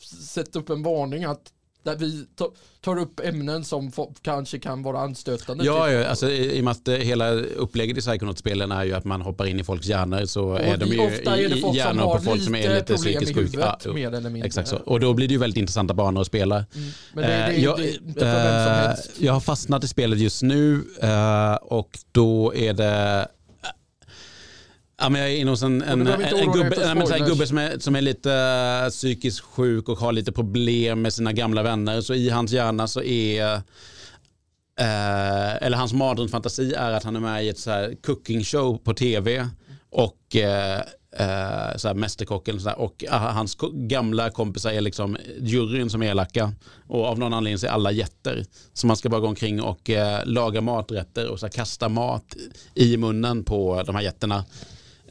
Speaker 2: f- sätta upp en varning att där vi ta- tar upp ämnen som fo- kanske kan vara anstötande.
Speaker 1: Ja,
Speaker 2: till-
Speaker 1: ja alltså, i, i och med att eh, hela upplägget i Psychonaut-spelen är ju att man hoppar in i folks hjärnor så
Speaker 2: och
Speaker 1: är de ju
Speaker 2: ofta
Speaker 1: i,
Speaker 2: är det folk
Speaker 1: i
Speaker 2: som
Speaker 1: hjärnor
Speaker 2: har
Speaker 1: på folk som är lite
Speaker 2: problem i
Speaker 1: psykiskt sjuka. Ja,
Speaker 2: huvudet
Speaker 1: jo.
Speaker 2: mer eller mindre.
Speaker 1: Exakt så. Och då blir det ju väldigt intressanta banor att spela.
Speaker 2: Mm. Men det, det,
Speaker 1: Eh, jag,
Speaker 2: det, det är inte för vem som
Speaker 1: eh,
Speaker 2: helst.
Speaker 1: jag har fastnat i spelet just nu eh, och då är det eh, Ja, men jag är inne hos en, en, en,
Speaker 2: behöver inte
Speaker 1: en,
Speaker 2: oroa dig
Speaker 1: gubbe,
Speaker 2: för
Speaker 1: nej, men så här,
Speaker 2: spoilers.
Speaker 1: gubbe som är, som är lite eh, psykiskt sjuk och har lite problem med sina gamla vänner. Så i hans hjärna så är, eh, eller hans mardrömsfantasi är att han är med i ett så här cooking show på tv och eh, eh, så här Mästerkocken och så där. och eh, hans ko- gamla kompisar är liksom juryn som är elaka och av någon anledning så är alla jätter. Så man ska bara gå omkring och eh, laga maträtter och så här, kasta mat i munnen på de här jätterna.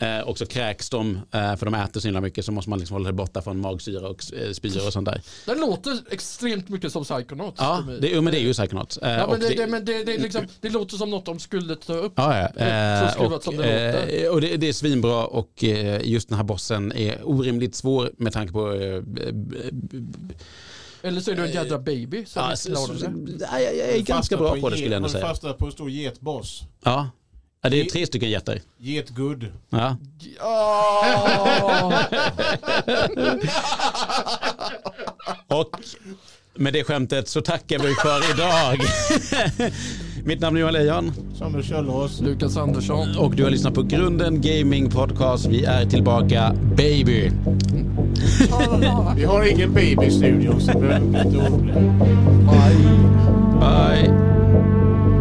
Speaker 1: Eh, och så kräks de, eh, för de äter så himla mycket så måste man liksom hålla sig borta från magsyra och eh, spyor och sånt där.
Speaker 2: Det låter extremt mycket som Psychonauts.
Speaker 1: Ja,
Speaker 2: för mig.
Speaker 1: det, jo, men det är ju Psychonauts. Eh,
Speaker 2: Ja,
Speaker 1: och
Speaker 2: men det, det, men det, det, är liksom, det låter som något de skulle ta upp.
Speaker 1: Ja, ja.
Speaker 2: är så
Speaker 1: Eh,
Speaker 2: skruvat
Speaker 1: och,
Speaker 2: som det låter.
Speaker 1: eh, och det, det är svinbra och eh, just den här bossen är orimligt svår med tanke på... eh, b- b- b-
Speaker 2: Eller så är du en jädra baby som
Speaker 1: Ja,
Speaker 2: inte
Speaker 1: så, så,
Speaker 2: klarar
Speaker 1: så,
Speaker 2: det.
Speaker 1: nej, jag, jag är ganska bra på det skulle jag ändå säga.
Speaker 3: fastnade på en stor getboss.
Speaker 1: Ja. ja, det är tre stycken jätter.
Speaker 3: Getgud.
Speaker 1: Ja.
Speaker 2: Ja.
Speaker 1: Och med det skämtet så tackar vi för idag. Mitt namn är Johan Lejon.
Speaker 3: Samuel Kjöllås.
Speaker 2: Lukas Andersson.
Speaker 1: Och du har lyssnat på Grunden Gaming Podcast. Vi är tillbaka, baby.
Speaker 3: Vi har ingen baby i studion så du behöver bli lite orolig.
Speaker 1: Bye.